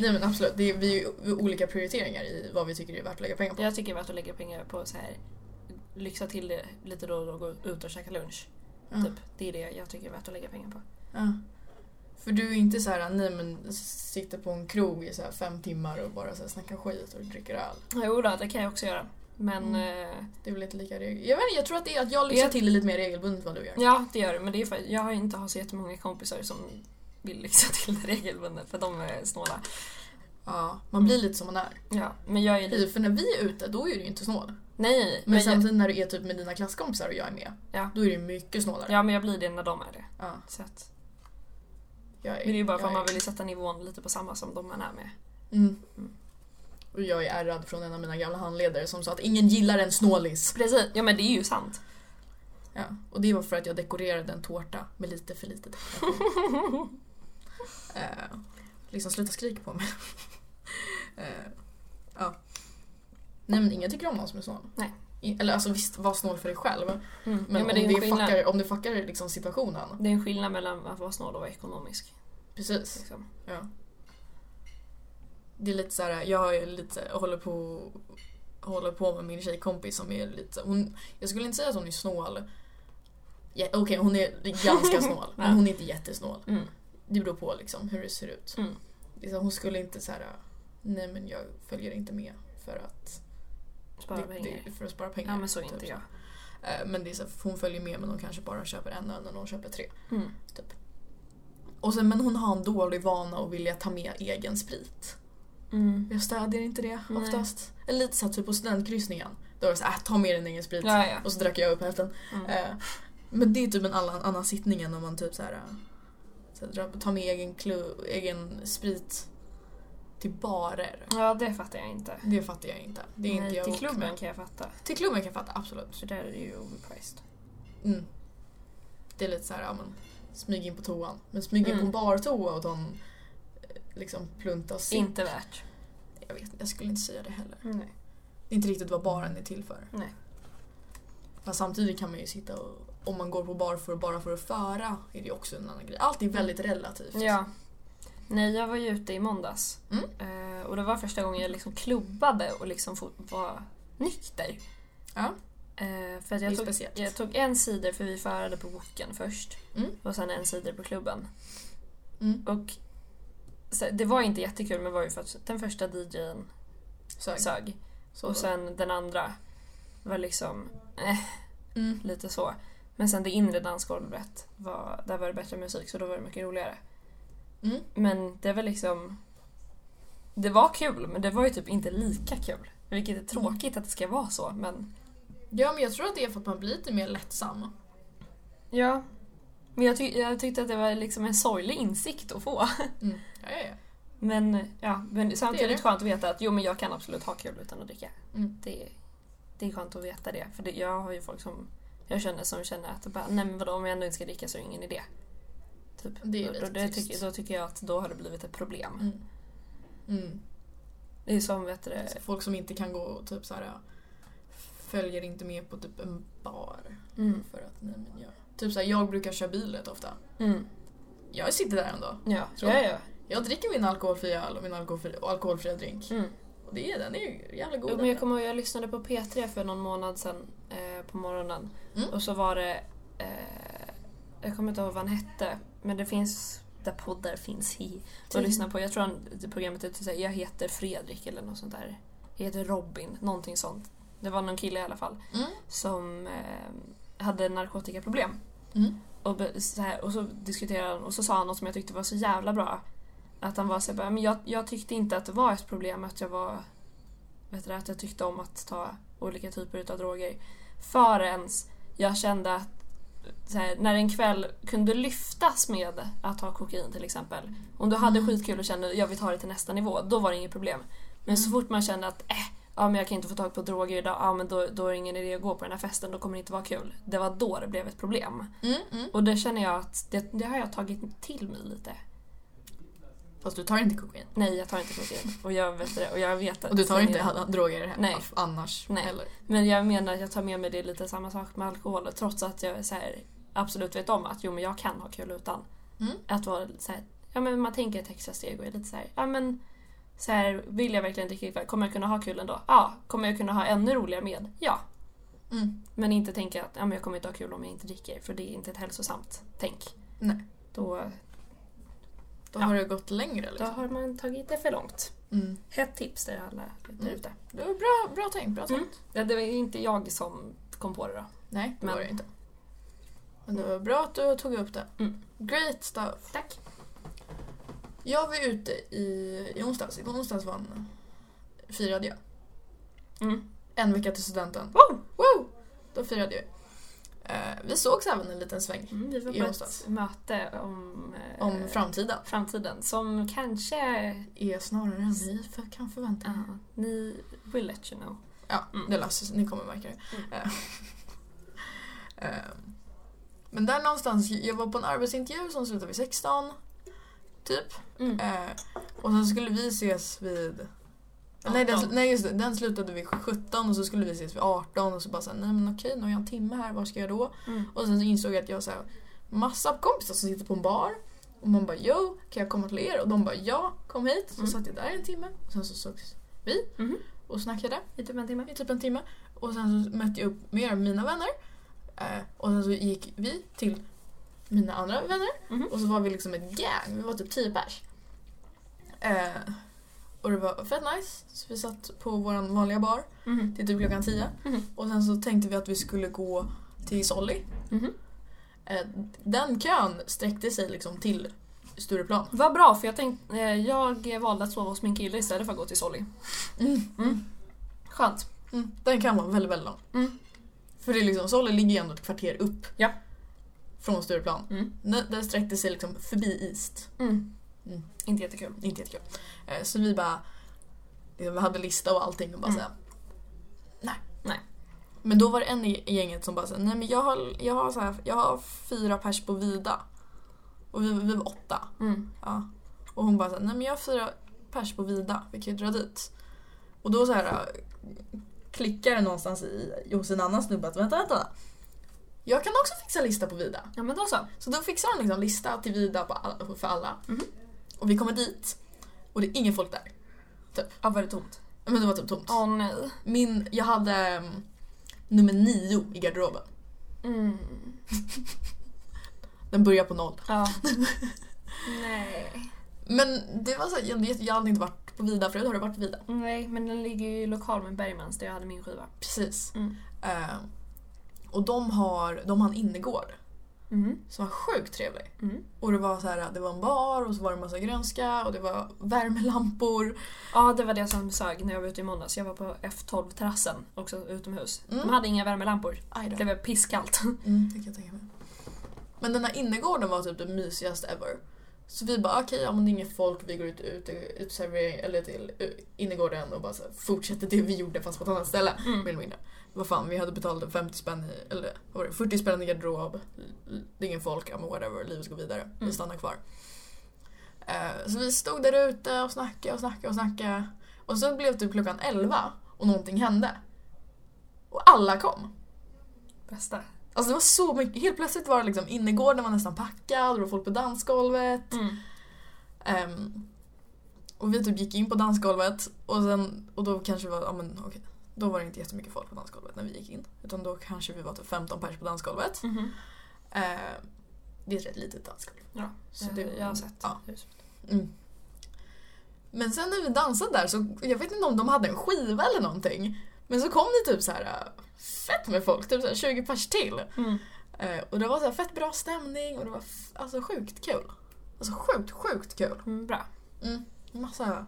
Speaker 1: Nej men absolut, det är, vi är ju olika prioriteringar i vad vi tycker är värt att lägga pengar på.
Speaker 2: Jag tycker det är värt att lägga pengar på så här lyxa till det lite då och då och gå ut och käka lunch.
Speaker 1: Ja.
Speaker 2: Typ. Det är det jag tycker är värt att lägga pengar på.
Speaker 1: Ja. För du är inte så här, nej men sitta på en krog i så här fem timmar och bara så här snacka skit och dricka öl.
Speaker 2: Jo då, det kan jag också göra. Men eh,
Speaker 1: Det är väl inte lika regel... Jag vet inte, jag tror att det är att jag lyxar
Speaker 2: Jag-
Speaker 1: till det lite mer regelbundet än vad du gör.
Speaker 2: ja, det gör det. Men det är för, jag har ju inte har så jättemånga kompisar som vill lyxa till det regelbundet för de är snåla.
Speaker 1: Ja, man blir lite som man är.
Speaker 2: Ja, men jag är lite...
Speaker 1: Hej, För när vi är ute, då är du ju inte snål.
Speaker 2: Nej, nej, nej.
Speaker 1: Men,
Speaker 2: Men jag,
Speaker 1: samtidigt när du är typ med dina klasskompisar och jag är med,
Speaker 2: Ja.
Speaker 1: då är det ju mycket snålare.
Speaker 2: ja, men jag blir det när de är det.
Speaker 1: Ja,
Speaker 2: Så att,
Speaker 1: jag är,
Speaker 2: men det är ju bara för
Speaker 1: jag
Speaker 2: att man vill ju sätta nivån lite på samma som de man är med.
Speaker 1: Mm.
Speaker 2: Mm.
Speaker 1: Och jag är ärrad från en av mina gamla handledare som sa att ingen gillar en snålis.
Speaker 2: Precis, ja men det är ju sant.
Speaker 1: Ja. Och det var för att jag dekorerade en tårta med lite för lite dekoration. eh, liksom sluta skrika på mig. eh, ja. Nej men ingen tycker om någon som är snål.
Speaker 2: Nej.
Speaker 1: i- eller alltså visst, var snål för dig själv.
Speaker 2: Mm.
Speaker 1: Men,
Speaker 2: ja, men det
Speaker 1: om,
Speaker 2: är en
Speaker 1: det
Speaker 2: skillnad.
Speaker 1: fuckar, om det fuckar liksom situationen.
Speaker 2: Det är en skillnad mellan att vara snål och vara ekonomisk.
Speaker 1: Precis.
Speaker 2: Liksom.
Speaker 1: Det är lite så här, jag är lite, jag håller på håller på med min tjejkompis som är lite, hon, jag skulle inte säga att hon är snål. Ja, Okej, hon är ganska snål, men
Speaker 2: Ja.
Speaker 1: hon är inte jättesnål.
Speaker 2: Mm.
Speaker 1: Det beror på liksom hur det ser ut.
Speaker 2: Mm.
Speaker 1: Liksom, hon skulle inte så här, nej men jag följer inte med för att,
Speaker 2: Spara
Speaker 1: det-
Speaker 2: pengar.
Speaker 1: Det, för att spara pengar.
Speaker 2: Ja men så är
Speaker 1: typ
Speaker 2: inte jag.
Speaker 1: Eh, Men det är så här, hon följer med men hon kanske bara köper en öl när hon köper tre.
Speaker 2: Mm.
Speaker 1: Och sen, men hon har en dålig vana att vilja ta med egen sprit.
Speaker 2: Mm.
Speaker 1: Jag stödjer inte det
Speaker 2: Nej.
Speaker 1: oftast. Eller lite så här, typ på studentkryssningen. Då var det såhär, äh, ta med din egen sprit.
Speaker 2: Ja, ja.
Speaker 1: Och så drack jag upp hälften.
Speaker 2: Mm.
Speaker 1: Eh, Men det är typ en annan, annan sittning än om man typ så här, eh, så här, dra- tar med egen, klu, egen sprit till barer.
Speaker 2: ja, det fattar jag inte.
Speaker 1: Det fattar jag inte. Det är inte
Speaker 2: Nej,
Speaker 1: jag
Speaker 2: till
Speaker 1: ok
Speaker 2: klubben
Speaker 1: med.
Speaker 2: kan jag fatta.
Speaker 1: Till klubben kan jag fatta, absolut.
Speaker 2: För där är det ju overpriced.
Speaker 1: Mm. Det är lite så här, ja men smyg in på toan. Men smyg in
Speaker 2: Mm.
Speaker 1: på en bartoa och ta en eh, liksom plunta sitt.
Speaker 2: Inte värt.
Speaker 1: Jag vet inte, jag skulle inte säga det heller.
Speaker 2: Nej.
Speaker 1: Det är inte riktigt vad baren är till för.
Speaker 2: Nej.
Speaker 1: Fast samtidigt kan man ju sitta och om man går på bar för bara för att föra är det ju också en annan grej. Allt är väldigt relativt.
Speaker 2: Ja. Nej, jag var ju ute i måndags.
Speaker 1: Mm.
Speaker 2: Eh, och det var första gången jag liksom klubbade och liksom fo- var nykter.
Speaker 1: Ja.
Speaker 2: Eh, för att
Speaker 1: Det är
Speaker 2: jag tog,
Speaker 1: speciellt.
Speaker 2: jag tog en cider för vi förade på boken först.
Speaker 1: Mm.
Speaker 2: Och sen en cider på klubben.
Speaker 1: Mm.
Speaker 2: Och så, det var inte jättekul men det var ju för att den första DJn
Speaker 1: Så, så,
Speaker 2: sög.
Speaker 1: så.
Speaker 2: Och sen den andra var liksom
Speaker 1: mm.
Speaker 2: lite så. Men sen det inre dansgolvet, var, där var det bättre musik så då var det mycket roligare.
Speaker 1: Mm.
Speaker 2: Men det var liksom... Det var kul men det var ju typ inte lika kul. Vilket är tråkigt att det ska vara så men...
Speaker 1: Ja men jag tror att det är för att man blir lite mer lättsam.
Speaker 2: Ja. Men jag, ty- jag tyckte att det var liksom en sorglig insikt att få.
Speaker 1: Mm. Ja, ja, ja.
Speaker 2: Men, ja, men samtidigt
Speaker 1: Det är det.
Speaker 2: skönt att veta att jo, men jag kan absolut ha kul utan att dricka.
Speaker 1: Mm.
Speaker 2: Det, det är skönt att veta det. För det, jag har ju folk som jag känner som känner att bara, Nej, men vadå, om jag ändå inte ska dricka så är det ingen idé. Typ.
Speaker 1: Det är ju
Speaker 2: Då-
Speaker 1: lite
Speaker 2: då, det
Speaker 1: trist.
Speaker 2: tycker, då tycker jag att då har det blivit ett problem.
Speaker 1: Mm. Mm.
Speaker 2: Det är som vet du,
Speaker 1: Alltså, folk som inte kan gå och typ så här följer inte med på typ en bar
Speaker 2: mm,
Speaker 1: för att nej men jag typ så här, jag brukar köra bil rätt ofta.
Speaker 2: mm,
Speaker 1: Jag sitter där ändå.
Speaker 2: ja,
Speaker 1: Så.
Speaker 2: ja, ja.
Speaker 1: Jag dricker min alkoholfria öl och min alkoholfria, alkoholfria drink.
Speaker 2: Mm.
Speaker 1: Och det, är- den är ju jävla god.
Speaker 2: Jo, men jag kommer ihåg, jag lyssnade på P3 för någon månad sedan eh, på morgonen.
Speaker 1: Mm.
Speaker 2: Och så var det, eh, jag kommer inte ihåg vad han hette, men det finns där poddar finns i. Och
Speaker 1: Tydligen.
Speaker 2: lyssna på, jag tror han, det programmet heter såhär, jag heter Fredrik eller något sånt där. Jag heter Robin, någonting sånt. Det var någon kille i alla fall
Speaker 1: Mm.
Speaker 2: som eh, hade narkotikaproblem.
Speaker 1: Mm.
Speaker 2: Och, be- så här, och så diskuterade han och så sa han något som jag tyckte var så jävla bra. Att han var så här, bara, men jag, jag tyckte inte att det var ett problem att jag var vet du, det, att jag tyckte om att ta olika typer av droger. Förrän jag kände att så här, när en kväll kunde lyftas med att ta kokain till exempel. Om du hade
Speaker 1: Mm.
Speaker 2: skitkul och kände jag vill ta det till nästa nivå, då var det inget problem. Men så
Speaker 1: Mm.
Speaker 2: fort man kände att eh, ja, men jag kan inte få tag på droger idag, ja, men då, då är det ingen idé att gå på den här festen, då kommer det inte vara kul. Det var då det blev ett problem.
Speaker 1: Mm, mm.
Speaker 2: Och det känner jag att det, det har jag tagit till mig lite.
Speaker 1: Fast du tar inte kokain.
Speaker 2: Nej, jag tar inte kokain. Och jag vet det. Och jag vet att
Speaker 1: Och du tar
Speaker 2: sen
Speaker 1: inte
Speaker 2: jag-
Speaker 1: ha- droger he-
Speaker 2: Nej.
Speaker 1: aff- annars
Speaker 2: Nej.
Speaker 1: heller.
Speaker 2: Men jag menar att jag tar med mig det lite samma sak med alkohol trots att jag är så här, absolut vet om att jo men jag kan ha kul utan.
Speaker 1: Mm.
Speaker 2: Att vara lite så här, ja men man tänker ett extra steg och är lite så här, ja men så här, vill jag verkligen dricka ikväll? Kommer jag kunna ha kul ändå? Ja. Kommer jag kunna ha ännu roligare med? Ja.
Speaker 1: Mm.
Speaker 2: Men inte tänka att ja, men jag kommer inte ha kul om jag inte dricker för det är inte ett hälsosamt tänk.
Speaker 1: Nej.
Speaker 2: Då,
Speaker 1: Då
Speaker 2: Ja.
Speaker 1: har det gått längre
Speaker 2: då
Speaker 1: liksom.
Speaker 2: har man tagit det för långt.
Speaker 1: Mm.
Speaker 2: Hett tips där alla där
Speaker 1: Mm.
Speaker 2: ute.
Speaker 1: Det var bra, bra tänkt, bra
Speaker 2: Mm.
Speaker 1: tänkt.
Speaker 2: Ja, det var ju inte jag som kom på det då.
Speaker 1: Nej, det
Speaker 2: Men-
Speaker 1: var det inte. Men det var bra att du tog upp det.
Speaker 2: Mm.
Speaker 1: Great stuff.
Speaker 2: Tack.
Speaker 1: Jag var ute i, i onsdags. I onsdags var en, firade jag.
Speaker 2: Mm.
Speaker 1: En vecka till studenten.
Speaker 2: Wow!
Speaker 1: Wow! Då firade jag. Eh, vi sågs även en liten sväng.
Speaker 2: Mm, vi var
Speaker 1: I
Speaker 2: på
Speaker 1: onsdags.
Speaker 2: ett möte om, eh,
Speaker 1: Om framtiden.
Speaker 2: framtiden som kanske
Speaker 1: Är snarare än vi för, kan förvänta
Speaker 2: ja, ni will let you know.
Speaker 1: Ja,
Speaker 2: Mm.
Speaker 1: det löser sig. Ni kommer märka det.
Speaker 2: Mm.
Speaker 1: Eh, eh, Men där någonstans, jag var på en arbetsintervju som slutade vid 16. Typ.
Speaker 2: Mm.
Speaker 1: Eh, Och sen skulle vi ses vid Nej, den,
Speaker 2: 18.
Speaker 1: nej just det, den slutade vid 17 och så skulle vi ses vid 18 och så bara såhär, nej men okej nu har jag en timme här, vad ska jag då?
Speaker 2: Mm.
Speaker 1: Och sen så insåg jag att jag har så här, massa kompisar som sitter på en bar och man bara jo, kan jag komma till er? Och de bara ja, kom hit. Så
Speaker 2: Mm.
Speaker 1: satt jag där en timme och sen så sågs vi
Speaker 2: Mhm.
Speaker 1: och snackade
Speaker 2: I typ en timme.
Speaker 1: i typ en timme. Och sen så mötte jag upp mer av mina vänner. Eh, och sen så gick vi till mina andra vänner.
Speaker 2: Mhm.
Speaker 1: Och så var vi liksom ett gäng. Vi var typ tio pers. Eh, och det var fett nice. Så vi satt på vår vanliga bar
Speaker 2: Mhm.
Speaker 1: till typ klockan tio.
Speaker 2: Mhm.
Speaker 1: Och sen så tänkte vi att vi skulle gå till Solli.
Speaker 2: Mhm.
Speaker 1: Eh, den kön sträckte sig liksom till Stureplan.
Speaker 2: Vad bra, för jag, tänkte, eh, jag valde att sova hos min kille istället för att gå till Solly.
Speaker 1: Mm.
Speaker 2: Skönt.
Speaker 1: Mm, den kan vara väldigt, väldigt lång.
Speaker 2: Mm.
Speaker 1: För det är liksom, Solli ligger ju ändå ett kvarter upp.
Speaker 2: Ja.
Speaker 1: Från Stureplan.
Speaker 2: Mm.
Speaker 1: Den den sträckte sig liksom förbi East.
Speaker 2: Mm.
Speaker 1: Mm.
Speaker 2: Inte jättekul.
Speaker 1: Inte jättekul. Eh, Så vi bara... eh, Vi hade lista och allting och bara
Speaker 2: Mm.
Speaker 1: såhär... Nej.
Speaker 2: Nej.
Speaker 1: Men då var det en i gänget som bara såhär, nej men jag har, jag har, så här, jag har fyra pers på Vida. Och vi, vi var åtta.
Speaker 2: Mm.
Speaker 1: Ja. Och hon bara såhär, nej men jag har fyra pers på Vida, vi kan ju dra dit. Och då så här äh, klickar det någonstans i, hos en annan snubbe att vänta, vänta. Jag kan också fixa lista på Vida.
Speaker 2: Ja men då så.
Speaker 1: Så då fixar han liksom lista till Vida på alla, för alla.
Speaker 2: Mhm.
Speaker 1: Och vi kommer dit och det är ingen folk där. Typ.
Speaker 2: Ja var det tomt?
Speaker 1: Men det var typ tomt.
Speaker 2: Åh nej.
Speaker 1: Min, jag hade ehm, nummer nio i garderoben.
Speaker 2: Mm.
Speaker 1: Den börjar på noll.
Speaker 2: Ja. nej.
Speaker 1: Men det var så här, jag, jag hade inte varit på Vida förut. Har du varit på Vida?
Speaker 2: Nej, men den ligger ju i lokal med Bergmans där jag hade min skiva.
Speaker 1: Precis.
Speaker 2: Mm.
Speaker 1: Ehm, och de har, de har en innergård
Speaker 2: Mm.
Speaker 1: som var sjukt trevlig.
Speaker 2: Mm.
Speaker 1: Och det var så här, det var en bar och så var det en massa grönska och det var värmelampor.
Speaker 2: Ja, det var det som sög när jag var ute i måndags. Jag var på F12-terrassen, också utomhus.
Speaker 1: Mm.
Speaker 2: De hade inga värmelampor.
Speaker 1: Aj då.
Speaker 2: Det var pisskallt.
Speaker 1: Mm, det kan jag tänka mig. Men den här innergården var typ det mysigaste ever. Så vi bara okej, ja, men det är inget folk, vi går ut, ut, ut eller till eh, innergården och bara så här, fortsätter det vi gjorde fast på ett annat ställe. Mer
Speaker 2: Mm.
Speaker 1: eller mindre. Vad fan, vi hade betalat 50 spänn i, eller vad var det, 40 spänn i garderob. Det är ingen folk, ja men whatever, livet går vidare. Vi
Speaker 2: Mm.
Speaker 1: stannar kvar. Eh, så vi stod där ute och snackade och snackade och snackade. Och så blev det typ klockan 11 och någonting hände. Och alla kom.
Speaker 2: Bästa.
Speaker 1: Alltså det var så mycket, helt plötsligt var det liksom innergården var nästan packad och det var folk på dansgolvet.
Speaker 2: Mm.
Speaker 1: Ehm, och vi typ gick in på dansgolvet och, sen, och då kanske var, ja men okej, då var det inte jättemycket folk på dansgolvet när vi gick in. Utan då kanske vi var typ 15 pers på dansgolvet.
Speaker 2: Mhm.
Speaker 1: Ehm, det är ett rätt litet dansgolv.
Speaker 2: Ja,
Speaker 1: Så det-
Speaker 2: Eh, jag har sett.
Speaker 1: Ja. Mm. Men sen när vi dansade där så, jag vet inte om de hade en skiva eller någonting. Men så kom det typ så här äh, fett med folk, typ så här 20 pers till.
Speaker 2: Mm.
Speaker 1: Eh, Och det var så här fett bra stämning och det var f- alltså sjukt kul. Alltså sjukt, sjukt kul.
Speaker 2: Mm, bra.
Speaker 1: Mm. Massa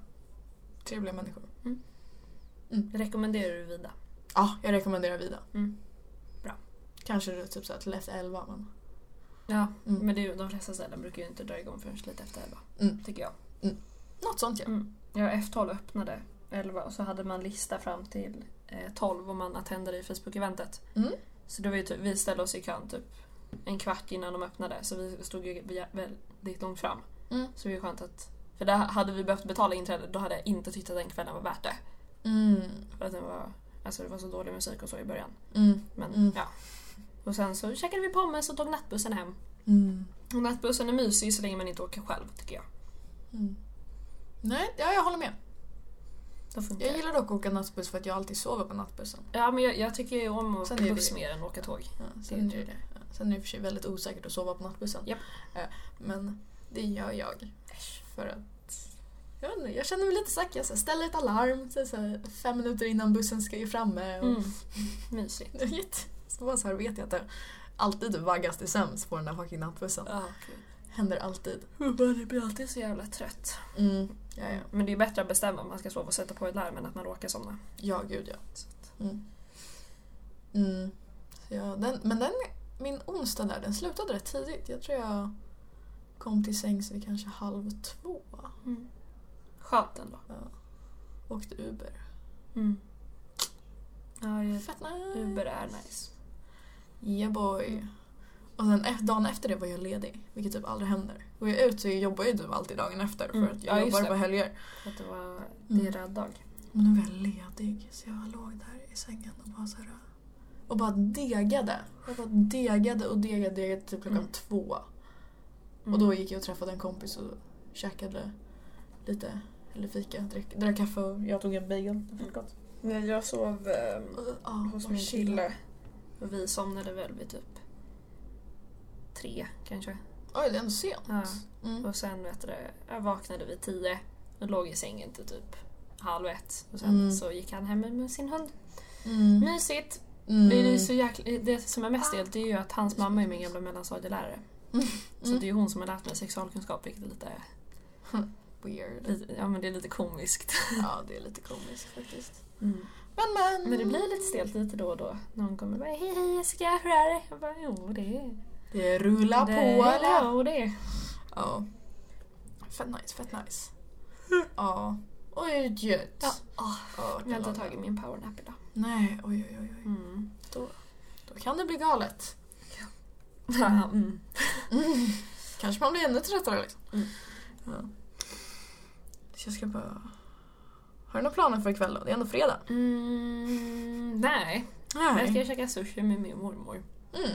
Speaker 1: trevliga människor.
Speaker 2: Rekommenderar du Vida?
Speaker 1: Ja, jag rekommenderar Vida.
Speaker 2: Mm. Bra.
Speaker 1: Kanske det är typ så här till efter elva men...
Speaker 2: Ja,
Speaker 1: Mm.
Speaker 2: men det är ju, de flesta ställen brukar ju inte dra igång förrän lite efter elva.
Speaker 1: Mm.
Speaker 2: Tycker jag.
Speaker 1: Något sånt ja.
Speaker 2: Mm. Ja, F12 öppnade 11 och så hade man lista fram till eh, 12 och man attendade i Facebook-eventet.
Speaker 1: Mm.
Speaker 2: Så det var ju typ, vi ställde oss i kön typ en kvart innan de öppnade så vi stod ju via- väldigt långt fram.
Speaker 1: Mm.
Speaker 2: Så det var ju skönt att... För där hade vi behövt betala inträde då hade jag inte tyckt att den kvällen var värt det.
Speaker 1: Mm.
Speaker 2: För att den var, alltså det var så dålig musik och så i början.
Speaker 1: Mm.
Speaker 2: Men
Speaker 1: Mm.
Speaker 2: ja. Och sen så käkade vi pommes och tog nattbussen hem.
Speaker 1: Mm.
Speaker 2: Och nattbussen är mysig så länge man inte åker själv tycker jag.
Speaker 1: Mm. Nej, ja, jag håller med.
Speaker 2: Då funkar
Speaker 1: Jag
Speaker 2: det.
Speaker 1: gillar dock att åka nattbuss för att jag alltid sover på nattbussen.
Speaker 2: Ja men jag, jag tycker ju om att
Speaker 1: Sen
Speaker 2: åka
Speaker 1: är det
Speaker 2: buss
Speaker 1: ju-
Speaker 2: mer än att åka tåg.
Speaker 1: Ja,
Speaker 2: Det är ju
Speaker 1: sen,
Speaker 2: inte det.
Speaker 1: ja, sen är det i och för sig väldigt osäkert att sova på nattbussen.
Speaker 2: Japp.
Speaker 1: Eh, Men det gör jag. För att jag, vet inte, jag känner mig lite säker. Jag så här ställer ett alarm så är det så här, fem minuter innan bussen ska ju framme. Och,
Speaker 2: Mm. Mysigt.
Speaker 1: vet, så bara så här vet jag att jag alltid vaggas till sömns på den där fucking nattbussen.
Speaker 2: Ja,
Speaker 1: Händer alltid.
Speaker 2: Man blir alltid så jävla trött.
Speaker 1: Mm. Ja, ja.
Speaker 2: Men det är bättre att bestämma om man ska sova och sätta på ett larm än att man råkar somna.
Speaker 1: Ja, gud ja. Mm. Mm. Så jag, den, men den, min onsdag där, den slutade rätt tidigt. Jag tror jag kom till sängs vid kanske halv två.
Speaker 2: Mm. Skönt ändå.
Speaker 1: Åkte Uber.
Speaker 2: Mm. Ja, jag-
Speaker 1: Fett nice.
Speaker 2: Uber Mm. är nice.
Speaker 1: Yeah boy. Och sen e- dagen efter det var jag ledig, vilket typ aldrig händer. Går jag ut så jobbar jag ju typ alltid dagen efter för
Speaker 2: Mm.
Speaker 1: att jag
Speaker 2: Ja, just
Speaker 1: jobbar
Speaker 2: det.
Speaker 1: på helger.
Speaker 2: För att det var det är
Speaker 1: Mm.
Speaker 2: röd dag.
Speaker 1: Men nu var jag ledig så jag låg där i sängen och bara så här, och bara degade. Jag bara degade och degade, degade till klockan
Speaker 2: Mm.
Speaker 1: två.
Speaker 2: Mm.
Speaker 1: Och då gick jag och träffade en kompis och käkade lite, eller fika, drack, drack kaffe och jag tog en bagel. Det var gott.
Speaker 2: Nej, jag sov eh,
Speaker 1: Och, ja,
Speaker 2: hos
Speaker 1: bara
Speaker 2: min
Speaker 1: chilla.
Speaker 2: kille. Och vi somnade väl vid typ tre kanske.
Speaker 1: Oj, det är ändå sent.
Speaker 2: Ja.
Speaker 1: Mm.
Speaker 2: Och sen vet du, det, jag vaknade vid tio och låg i sängen till typ halv ett. Och sen
Speaker 1: Mm.
Speaker 2: så gick han hem med sin hund.
Speaker 1: Mm.
Speaker 2: Mysigt!
Speaker 1: Mm.
Speaker 2: Det, är ju så jäkla, det som är mest helt det är ju att hans mamma är min gamla mellanstadielärare. Så
Speaker 1: Mm.
Speaker 2: det är ju hon som har lärt mig sexualkunskap vilket är lite,
Speaker 1: Weird.
Speaker 2: lite, ja, men det är lite komiskt.
Speaker 1: Ja, det är lite komiskt faktiskt. Men men.
Speaker 2: Men det blir lite stelt lite då och då. Någon kommer och bara hej hej Jessica, hur är det? Jag bara jo det är...
Speaker 1: Det rullar på
Speaker 2: det,
Speaker 1: eller?
Speaker 2: Ja, det är.
Speaker 1: Ja. Fett nice, fett nice. Ja. Oj, gött.
Speaker 2: Ja.
Speaker 1: Ja, Ah,
Speaker 2: Jag har inte
Speaker 1: kanon.
Speaker 2: tagit min powernap idag.
Speaker 1: Nej, oj, oj, oj. oj.
Speaker 2: Mm.
Speaker 1: Då kan det bli galet.
Speaker 2: mm.
Speaker 1: Kanske man blir ännu tröttare liksom.
Speaker 2: Mm.
Speaker 1: Ja. Så jag ska bara... Har du några planer för ikväll då? Det är ändå fredag.
Speaker 2: Mm, nej, jag ska käka sushi med min mormor.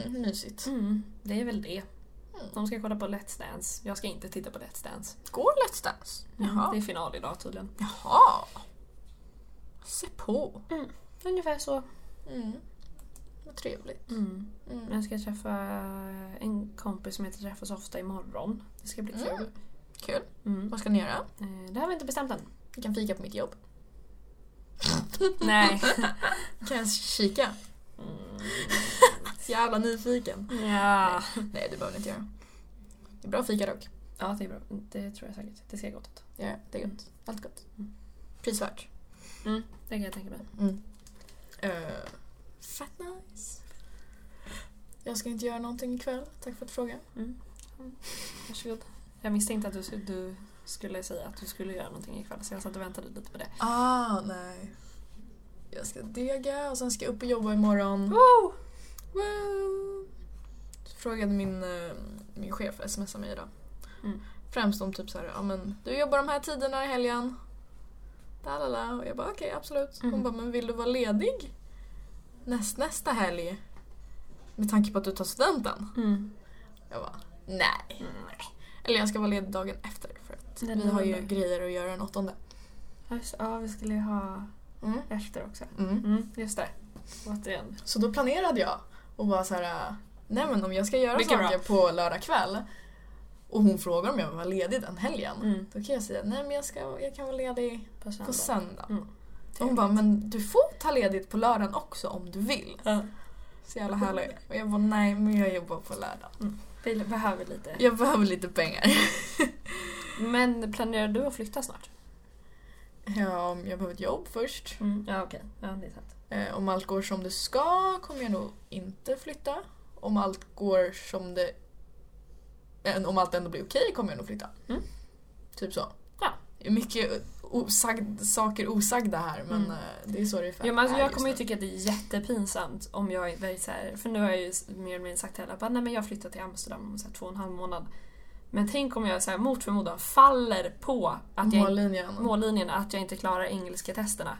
Speaker 1: Mm, mysigt.
Speaker 2: Mm, det är väl det.
Speaker 1: Mm.
Speaker 2: De ska kolla på Let's Dance. Jag ska inte titta på Let's Dance.
Speaker 1: Går Let's Dance?
Speaker 2: Mm, Det
Speaker 1: Jaha.
Speaker 2: är final idag tydligen.
Speaker 1: Jaha. Se på.
Speaker 2: Ungefär så.
Speaker 1: Mm. Vad trevligt.
Speaker 2: Mm.
Speaker 1: Mm.
Speaker 2: Jag ska träffa en kompis som inte träffas ofta imorgon. Det ska bli
Speaker 1: Mm.
Speaker 2: kul.
Speaker 1: Kul.
Speaker 2: Mm.
Speaker 1: Vad ska ni göra?
Speaker 2: Eh, Det har vi inte bestämt än.
Speaker 1: Vi kan fika på mitt jobb.
Speaker 2: Nej.
Speaker 1: Kan jag kika? Så Mm. jävla nyfiken.
Speaker 2: Ja.
Speaker 1: Nej, det behöver ni inte göra. Det är bra fika dock.
Speaker 2: ja, det är bra. Det tror jag säkert. Det ser gott ut.
Speaker 1: Ja, det är gott.
Speaker 2: Mm.
Speaker 1: Allt gott. Prisvärt.
Speaker 2: Det kan jag tänka mig.
Speaker 1: Mm. Eh, fett nice. Jag ska inte göra någonting ikväll. Tack för att fråga.
Speaker 2: Mm. Varsågod. Jag misstänkte att du, du skulle säga att du skulle göra någonting ikväll så jag satt och väntade lite på det.
Speaker 1: Ah, nej. Jag ska dega och sen ska jag upp och jobba imorgon.
Speaker 2: Wow!
Speaker 1: Woo! Så Frågade min, eh, min chef, smsade mig idag.
Speaker 2: Mm.
Speaker 1: Främst om typ så här, ja men du jobbar de här tiderna i helgen. Da, la, la. Och jag bara okej absolut. Hon
Speaker 2: Mm.
Speaker 1: bara men vill du vara ledig näst, nästa helg? Med tanke på att du tar studenten.
Speaker 2: Mm.
Speaker 1: Jag bara nej. Eller jag ska vara ledig dagen efter för att
Speaker 2: Den
Speaker 1: vi har ju
Speaker 2: nionde.
Speaker 1: grejer att göra den åttonde.
Speaker 2: Ja, just- Ja, vi skulle ju ha
Speaker 1: Mm.
Speaker 2: efter också.
Speaker 1: Mm.
Speaker 2: Mm, just det. Återigen.
Speaker 1: Så då planerade jag och bara så här, äh, nej men om jag ska göra
Speaker 2: Mycket
Speaker 1: saker på lördag kväll och hon frågar om jag vill vara ledig den helgen.
Speaker 2: Mm.
Speaker 1: Då kan jag säga nej men jag, ska, jag kan vara ledig
Speaker 2: På söndag.
Speaker 1: på söndag.
Speaker 2: Mm.
Speaker 1: Och hon bara men du får ta ledigt på lördagen också om du vill.
Speaker 2: Ja.
Speaker 1: Så jävla härlig. Och jag bara nej men jag jobbar på lördag.
Speaker 2: Vi behöver lite.
Speaker 1: Jag behöver lite pengar.
Speaker 2: Men planerar du att flytta snart?
Speaker 1: Ja, jag behöver ett jobb först.
Speaker 2: Mm. Ja, okej. Ja, det är sant.
Speaker 1: Eh, om allt går som det ska kommer jag nog inte flytta. Om allt går som det... eh, Om allt ändå blir okej kommer jag nog flytta.
Speaker 2: Mm.
Speaker 1: Typ så.
Speaker 2: Ja.
Speaker 1: Det är Mycket osagd, saker osagda här men
Speaker 2: Mm.
Speaker 1: eh, det är så det
Speaker 2: Ja, men alltså,
Speaker 1: är
Speaker 2: jag
Speaker 1: just
Speaker 2: kommer ju
Speaker 1: nu.
Speaker 2: tycka att det är jättepinsamt om jag är väldigt så här, för nu har jag ju mer eller mindre sagt till alla bara, nej men jag flyttar till Amsterdam om så här, två och en halv månad. Men tänk om jag så här, mot förmodan faller på att jag,
Speaker 1: Mållinjen.
Speaker 2: mållinjen att jag inte klarar engelska testerna.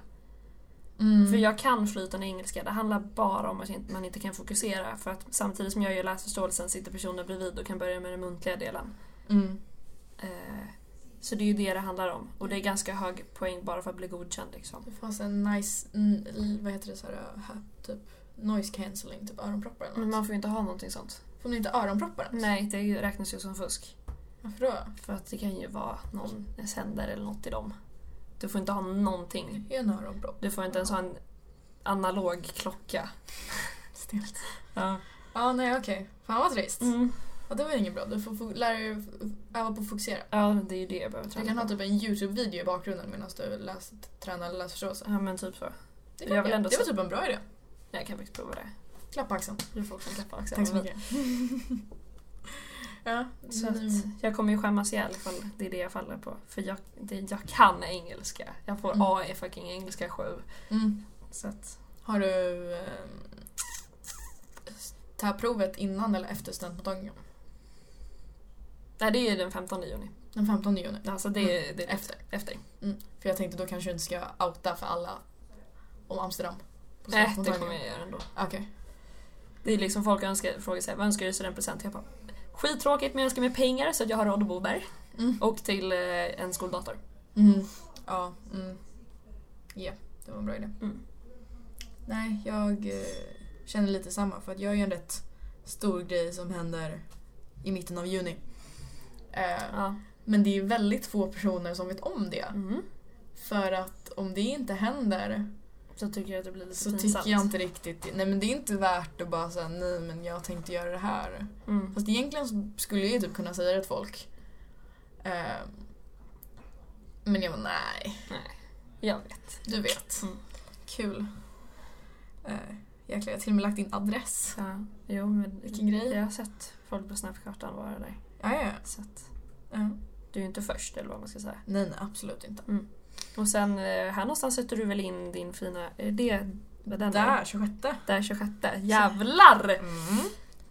Speaker 1: Mm.
Speaker 2: För jag kan flytande engelska, det handlar bara om att inte- man inte kan fokusera för att samtidigt som jag gör läsförståelsen sitter personer bredvid och kan börja med den muntliga delen.
Speaker 1: Mm.
Speaker 2: Eh, så det är ju det det handlar om och det är ganska hög poäng bara för att bli godkänd liksom.
Speaker 1: Det fanns en nice, mm, l- vad heter det så här, eh, här, typ noise cancelling, typ öronproppar eller
Speaker 2: Men
Speaker 1: något.
Speaker 2: man får ju inte ha någonting sånt.
Speaker 1: Får ni inte öronproppar ens?
Speaker 2: Nej, det räknas ju som fusk.
Speaker 1: Varför då?
Speaker 2: För att det kan ju vara någon sändare eller något i dem. Du får inte ha någonting.
Speaker 1: Det är en öronpropp.
Speaker 2: Du får inte ens ha en analog klocka.
Speaker 1: Stelt.
Speaker 2: Ja.
Speaker 1: Ja, nej okej. Fan vad trist.
Speaker 2: Mm.
Speaker 1: Ja, det var inget bra. Du får fo- lära dig f- öva på att fokusera.
Speaker 2: ja, men det är ju det jag behöver
Speaker 1: Du
Speaker 2: träna
Speaker 1: kan ha
Speaker 2: på.
Speaker 1: typ en YouTube-video i bakgrunden medan du läs, tränar läsförståelse.
Speaker 2: Ja, men typ så.
Speaker 1: Det,
Speaker 2: Jag vill
Speaker 1: kan-
Speaker 2: ändå
Speaker 1: det var
Speaker 2: se-
Speaker 1: typ en bra idé.
Speaker 2: Jag kan faktiskt prova det.
Speaker 1: Klappa axeln.
Speaker 2: Du får också klappa axeln.
Speaker 1: Tack så mycket. ja,
Speaker 2: Så att
Speaker 1: nu-
Speaker 2: jag kommer ju skämmas ihjäl ifall det är det jag faller på. För jag, det, jag kan engelska. Jag får
Speaker 1: Mm.
Speaker 2: A i fucking engelska 7.
Speaker 1: mm.
Speaker 2: Så att,
Speaker 1: Har du eh, ta provet innan eller efter studentmottagningen?
Speaker 2: Nej, det är ju den 15 juni.
Speaker 1: Den 15 juni.
Speaker 2: Alltså det är, det är lite
Speaker 1: Efter.
Speaker 2: efter.
Speaker 1: För jag tänkte då kanske du inte ska outa för alla om Amsterdam. På
Speaker 2: Nej, Äh, det
Speaker 1: studentmottagningen.
Speaker 2: kommer jag göra ändå.
Speaker 1: Okej.
Speaker 2: Det är liksom folk önskar, frågar sig vad önskar du i studentpresent? Jag bara, skittråkigt men jag önskar mig pengar så att jag har råd att bo där.
Speaker 1: Mm.
Speaker 2: Och till eh, en skoldator.
Speaker 1: Mm. Ja. Mm. Ja, det var en bra idé.
Speaker 2: Mm.
Speaker 1: Nej, jag eh, känner lite samma för att jag har ju en rätt stor grej som händer i mitten av juni. Eh,
Speaker 2: Ja.
Speaker 1: Men det är väldigt få personer som vet om det.
Speaker 2: Mm.
Speaker 1: För att om det inte händer
Speaker 2: Så tycker jag att det blir lite
Speaker 1: så
Speaker 2: pinsamt.
Speaker 1: tycker jag inte riktigt... Nej men det är inte värt att bara säga nej men jag tänkte göra det här.
Speaker 2: Mm.
Speaker 1: Fast egentligen så skulle jag ju typ kunna säga det till folk. Eh, men jag var nej,
Speaker 2: Jag vet.
Speaker 1: du vet.
Speaker 2: Mm.
Speaker 1: Kul. Eh, jäklar, jag har till och med lagt in adress.
Speaker 2: Ja. Jo, men
Speaker 1: Vilken grej.
Speaker 2: Jag har sett folk på Snapkartan vara där.
Speaker 1: Ja, ja,
Speaker 2: Så att,
Speaker 1: ja.
Speaker 2: du är ju inte först eller vad man ska säga.
Speaker 1: Nej, nej, absolut inte.
Speaker 2: Och sen eh, här någonstans sätter du väl in din fina... Är det den
Speaker 1: Där, 26.
Speaker 2: Där 26. Jävlar!
Speaker 1: Mm.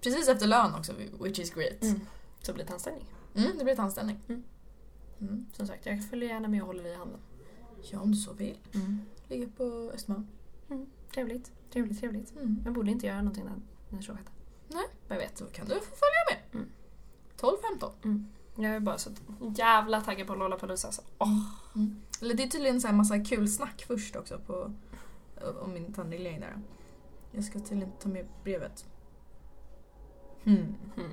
Speaker 1: Precis efter lön också, which is great.
Speaker 2: Mm. Så blir det anställning.
Speaker 1: Mm, det blir ett anställning.
Speaker 2: Mm.
Speaker 1: Mm.
Speaker 2: Som sagt, jag följer gärna med och håller i handen.
Speaker 1: Ja, om du så vill. Ligger på Östermalm.
Speaker 2: Trevligt, trevligt, trevligt.
Speaker 1: Mm.
Speaker 2: Jag borde inte göra någonting den, den 26.
Speaker 1: Nej.
Speaker 2: Vad jag vet.
Speaker 1: Så kan du få följa med.
Speaker 2: Mm.
Speaker 1: 12-15.
Speaker 2: Jag är bara så jävla taggad på Lollapalooza alltså. Åh.
Speaker 1: Eller det är tydligen så här massa kul snack först också på om min tandreglering där. Jag ska tydligen ta med brevet. Hmm.
Speaker 2: Mm.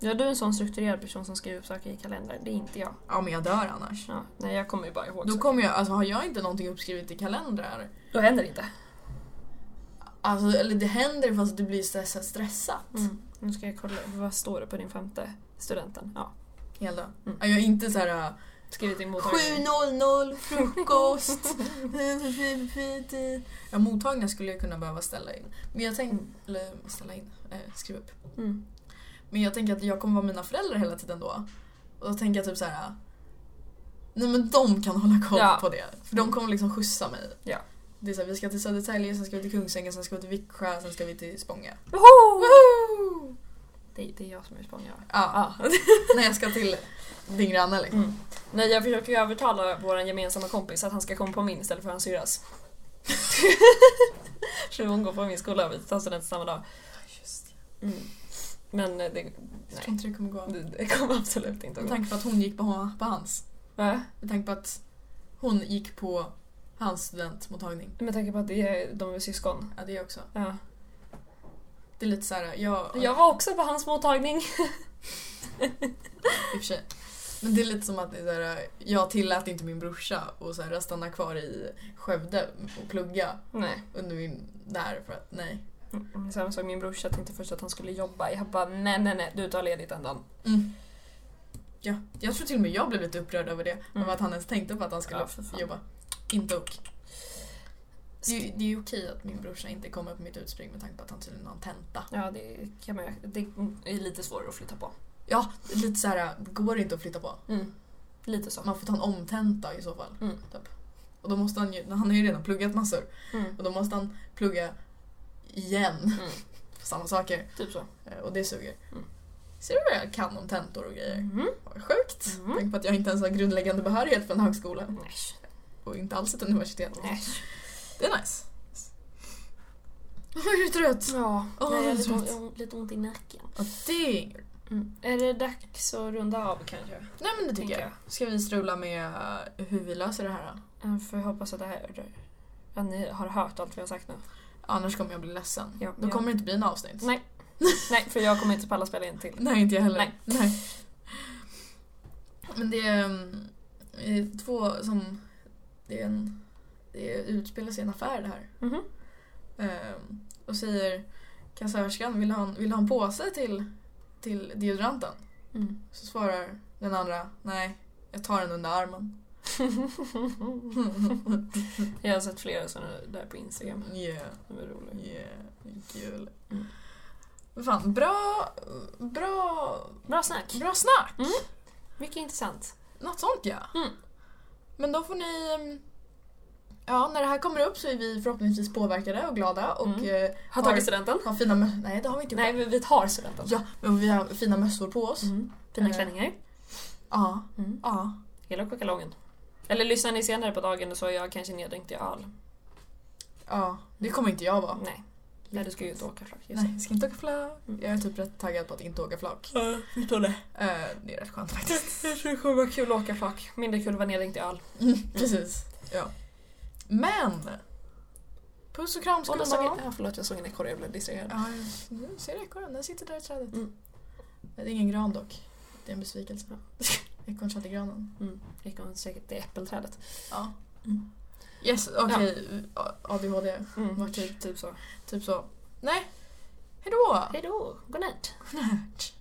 Speaker 2: Ja, du är en sån strukturerad person som skriver upp saker i kalendern. Det är inte jag.
Speaker 1: Ja men jag dör annars.
Speaker 2: Ja, nej, jag kommer ju bara ihåg
Speaker 1: Då
Speaker 2: saker.
Speaker 1: kommer jag, alltså har jag inte någonting uppskrivet i kalendrar,
Speaker 2: Då händer det inte.
Speaker 1: alltså eller det händer fast det blir så här- så här stressat.
Speaker 2: Mm. Nu ska jag kolla, vad står det på din femte studenten? Ja.
Speaker 1: Hela.
Speaker 2: Mm.
Speaker 1: Ja, Jag är inte så här äh,
Speaker 2: Skrivit in mottagning.
Speaker 1: 7.00 frukost. ja, mottagningar skulle jag kunna behöva ställa in. Men jag tänk,
Speaker 2: Mm.
Speaker 1: eller ställa in, eh, skriva upp.
Speaker 2: Mm.
Speaker 1: Men jag tänker att jag kommer vara mina föräldrar hela tiden då. Och då tänker jag typ så här. Nej men de kan hålla koll
Speaker 2: Ja.
Speaker 1: på det. För de kommer liksom skjutsa mig.
Speaker 2: Ja.
Speaker 1: Det är så här, vi ska till Södertälje, sen ska vi till Kungsängen, sen ska vi till Viksjö, sen ska vi till Spånga.
Speaker 2: Woho! Det, det är jag som är spanier.
Speaker 1: Ja. Nej jag ska till din granne liksom.
Speaker 2: Mm. Nej, jag försöker ju övertala vår gemensamma kompis att han ska komma på min istället för hans syrras. Så hon går på min skola och vi tar studenten samma dag.
Speaker 1: Just det.
Speaker 2: Mm. Men eh, det,
Speaker 1: Jag tror
Speaker 2: nej,
Speaker 1: inte det kommer gå av.
Speaker 2: det, det kommer absolut inte
Speaker 1: Med
Speaker 2: att gå.
Speaker 1: tanke på att hon gick på, på hans.
Speaker 2: Va?
Speaker 1: Med tanke på att hon gick på hans studentmottagning.
Speaker 2: Med tanke på att det är, de är syskon.
Speaker 1: Ja, det är också.
Speaker 2: Ja.
Speaker 1: Det är lite såhär, jag...
Speaker 2: Jag var också på hans mottagning.
Speaker 1: I och för sig. Men det är lite som att det är så här, jag tillät inte min brorsa och så här, stanna kvar i Skövde och plugga
Speaker 2: Nej.
Speaker 1: under min... Där för att nej.
Speaker 2: Mm, Sen sa min brorsa tänkte först att han skulle jobba. Jag bara nej, nej, nej, du tar ledigt en dag.
Speaker 1: Mm. Ja, jag tror till och med jag blev lite upprörd över det.
Speaker 2: Mm.
Speaker 1: Över att han ens tänkte på att han skulle
Speaker 2: Ja, för fan.
Speaker 1: jobba. Inte ok. Det är, ju- det är ju okej att min brorsa inte kommer på mitt utspring med tanke på att han tydligen har en tenta.
Speaker 2: Ja, det, kan man, ju- det är lite svårare att flytta på.
Speaker 1: Ja, lite så här, går det inte att flytta på?
Speaker 2: Mm. Lite så.
Speaker 1: Man får ta en omtenta i så fall.
Speaker 2: Mm.
Speaker 1: Typ. Och då måste han ju, han har ju redan pluggat massor.
Speaker 2: Mm.
Speaker 1: Och då måste han plugga igen
Speaker 2: Mm.
Speaker 1: på samma saker.
Speaker 2: Typ så.
Speaker 1: Eh, Och det suger.
Speaker 2: Mm.
Speaker 1: Ser du vad jag kan om tentor och grejer?
Speaker 2: Mm.
Speaker 1: Vad sjukt!
Speaker 2: Mm.
Speaker 1: Tänk på att jag inte ens har grundläggande behörighet för en högskola.
Speaker 2: Äsch.
Speaker 1: Och inte alls ett universitet.
Speaker 2: Äsch.
Speaker 1: Det är nice. Åh, jag är trött!
Speaker 2: Ja,
Speaker 1: Åh,
Speaker 2: Mm. nej, jag har
Speaker 1: vad
Speaker 2: lite,
Speaker 1: trött.
Speaker 2: ont- lite ont i nacken.
Speaker 1: Ja, det är inget.
Speaker 2: Mm. Är det dags att runda av kanske?
Speaker 1: Nej men det
Speaker 2: Tänker
Speaker 1: tycker jag. Ska vi strula med eh, hur vi löser det här då?
Speaker 2: Jag får hoppas att, det här, att ni har hört allt vi har sagt nu.
Speaker 1: Annars kommer jag bli ledsen.
Speaker 2: Ja,
Speaker 1: då
Speaker 2: ja.
Speaker 1: kommer det inte bli en avsnitt.
Speaker 2: Nej. Nej, för jag kommer inte palla spela in till.
Speaker 1: Nej, inte jag heller.
Speaker 2: Nej.
Speaker 1: Men det är mm, eh, två som... Det, är en, det utspelar sig i en affär det här.
Speaker 2: Mhm.
Speaker 1: Ehm, och säger kassörskan, vill du ha en, vill du ha en påse till, till deodoranten?
Speaker 2: Mm.
Speaker 1: Så svarar den andra, nej, jag tar den under armen.
Speaker 2: jag har sett flera sådana där på Instagram.
Speaker 1: Yeah,
Speaker 2: Det var roligt.
Speaker 1: yeah, kul.
Speaker 2: Mm.
Speaker 1: Men fan, bra, bra,
Speaker 2: Bra snack!
Speaker 1: bra snack!
Speaker 2: Mycket intressant.
Speaker 1: Något sånt ja.
Speaker 2: Mm.
Speaker 1: Men då får ni mm, ja, när det här kommer upp så är vi förhoppningsvis påverkade och glada och
Speaker 2: Mm.
Speaker 1: eh,
Speaker 2: Har tagit studenten?
Speaker 1: har fina mössor. Nej, det har vi inte gjort.
Speaker 2: Nej, vi, vi tar studenten.
Speaker 1: Ja, men vi har fina mössor på oss.
Speaker 2: Mm. Fina
Speaker 1: Eh.
Speaker 2: klänningar.
Speaker 1: Ja,
Speaker 2: Mm.
Speaker 1: ja.
Speaker 2: Hela kokalongen. Eller lyssnar ni senare på dagen så är jag kanske neddränkt i öl.
Speaker 1: Ja, det kommer inte jag vara.
Speaker 2: Nej. Nej, du ska ju inte åka flak. Just
Speaker 1: Nej, jag ska inte åka flak.
Speaker 2: Mm.
Speaker 1: Jag är typ rätt taggad på att inte åka flak.
Speaker 2: det. Förstår det.
Speaker 1: Eh, det är rätt skönt faktiskt.
Speaker 2: Jag tror det kommer vara kul att åka flak. Mindre kul att vara neddränkt i öl.
Speaker 1: Mm, Precis. Ja. Men! Puss och kram
Speaker 2: Och
Speaker 1: ska
Speaker 2: då
Speaker 1: du
Speaker 2: såg
Speaker 1: ha.
Speaker 2: jag, ja, förlåt, jag såg en ekorre jag blev distraherad.
Speaker 1: Ja, nu ser du ekorren? Den sitter där i trädet.
Speaker 2: Mm.
Speaker 1: Det är ingen gran dock. Det är en besvikelse. Ekorren satt i granen.
Speaker 2: Mm. Ekorren säkert i äppelträdet.
Speaker 1: Ja.
Speaker 2: Mm.
Speaker 1: Yes, okej. ADHD.
Speaker 2: Mm.
Speaker 1: Vart?
Speaker 2: Typ, typ så.
Speaker 1: Typ så. Nej. Hejdå!
Speaker 2: Hejdå, godnatt.
Speaker 1: Knärt.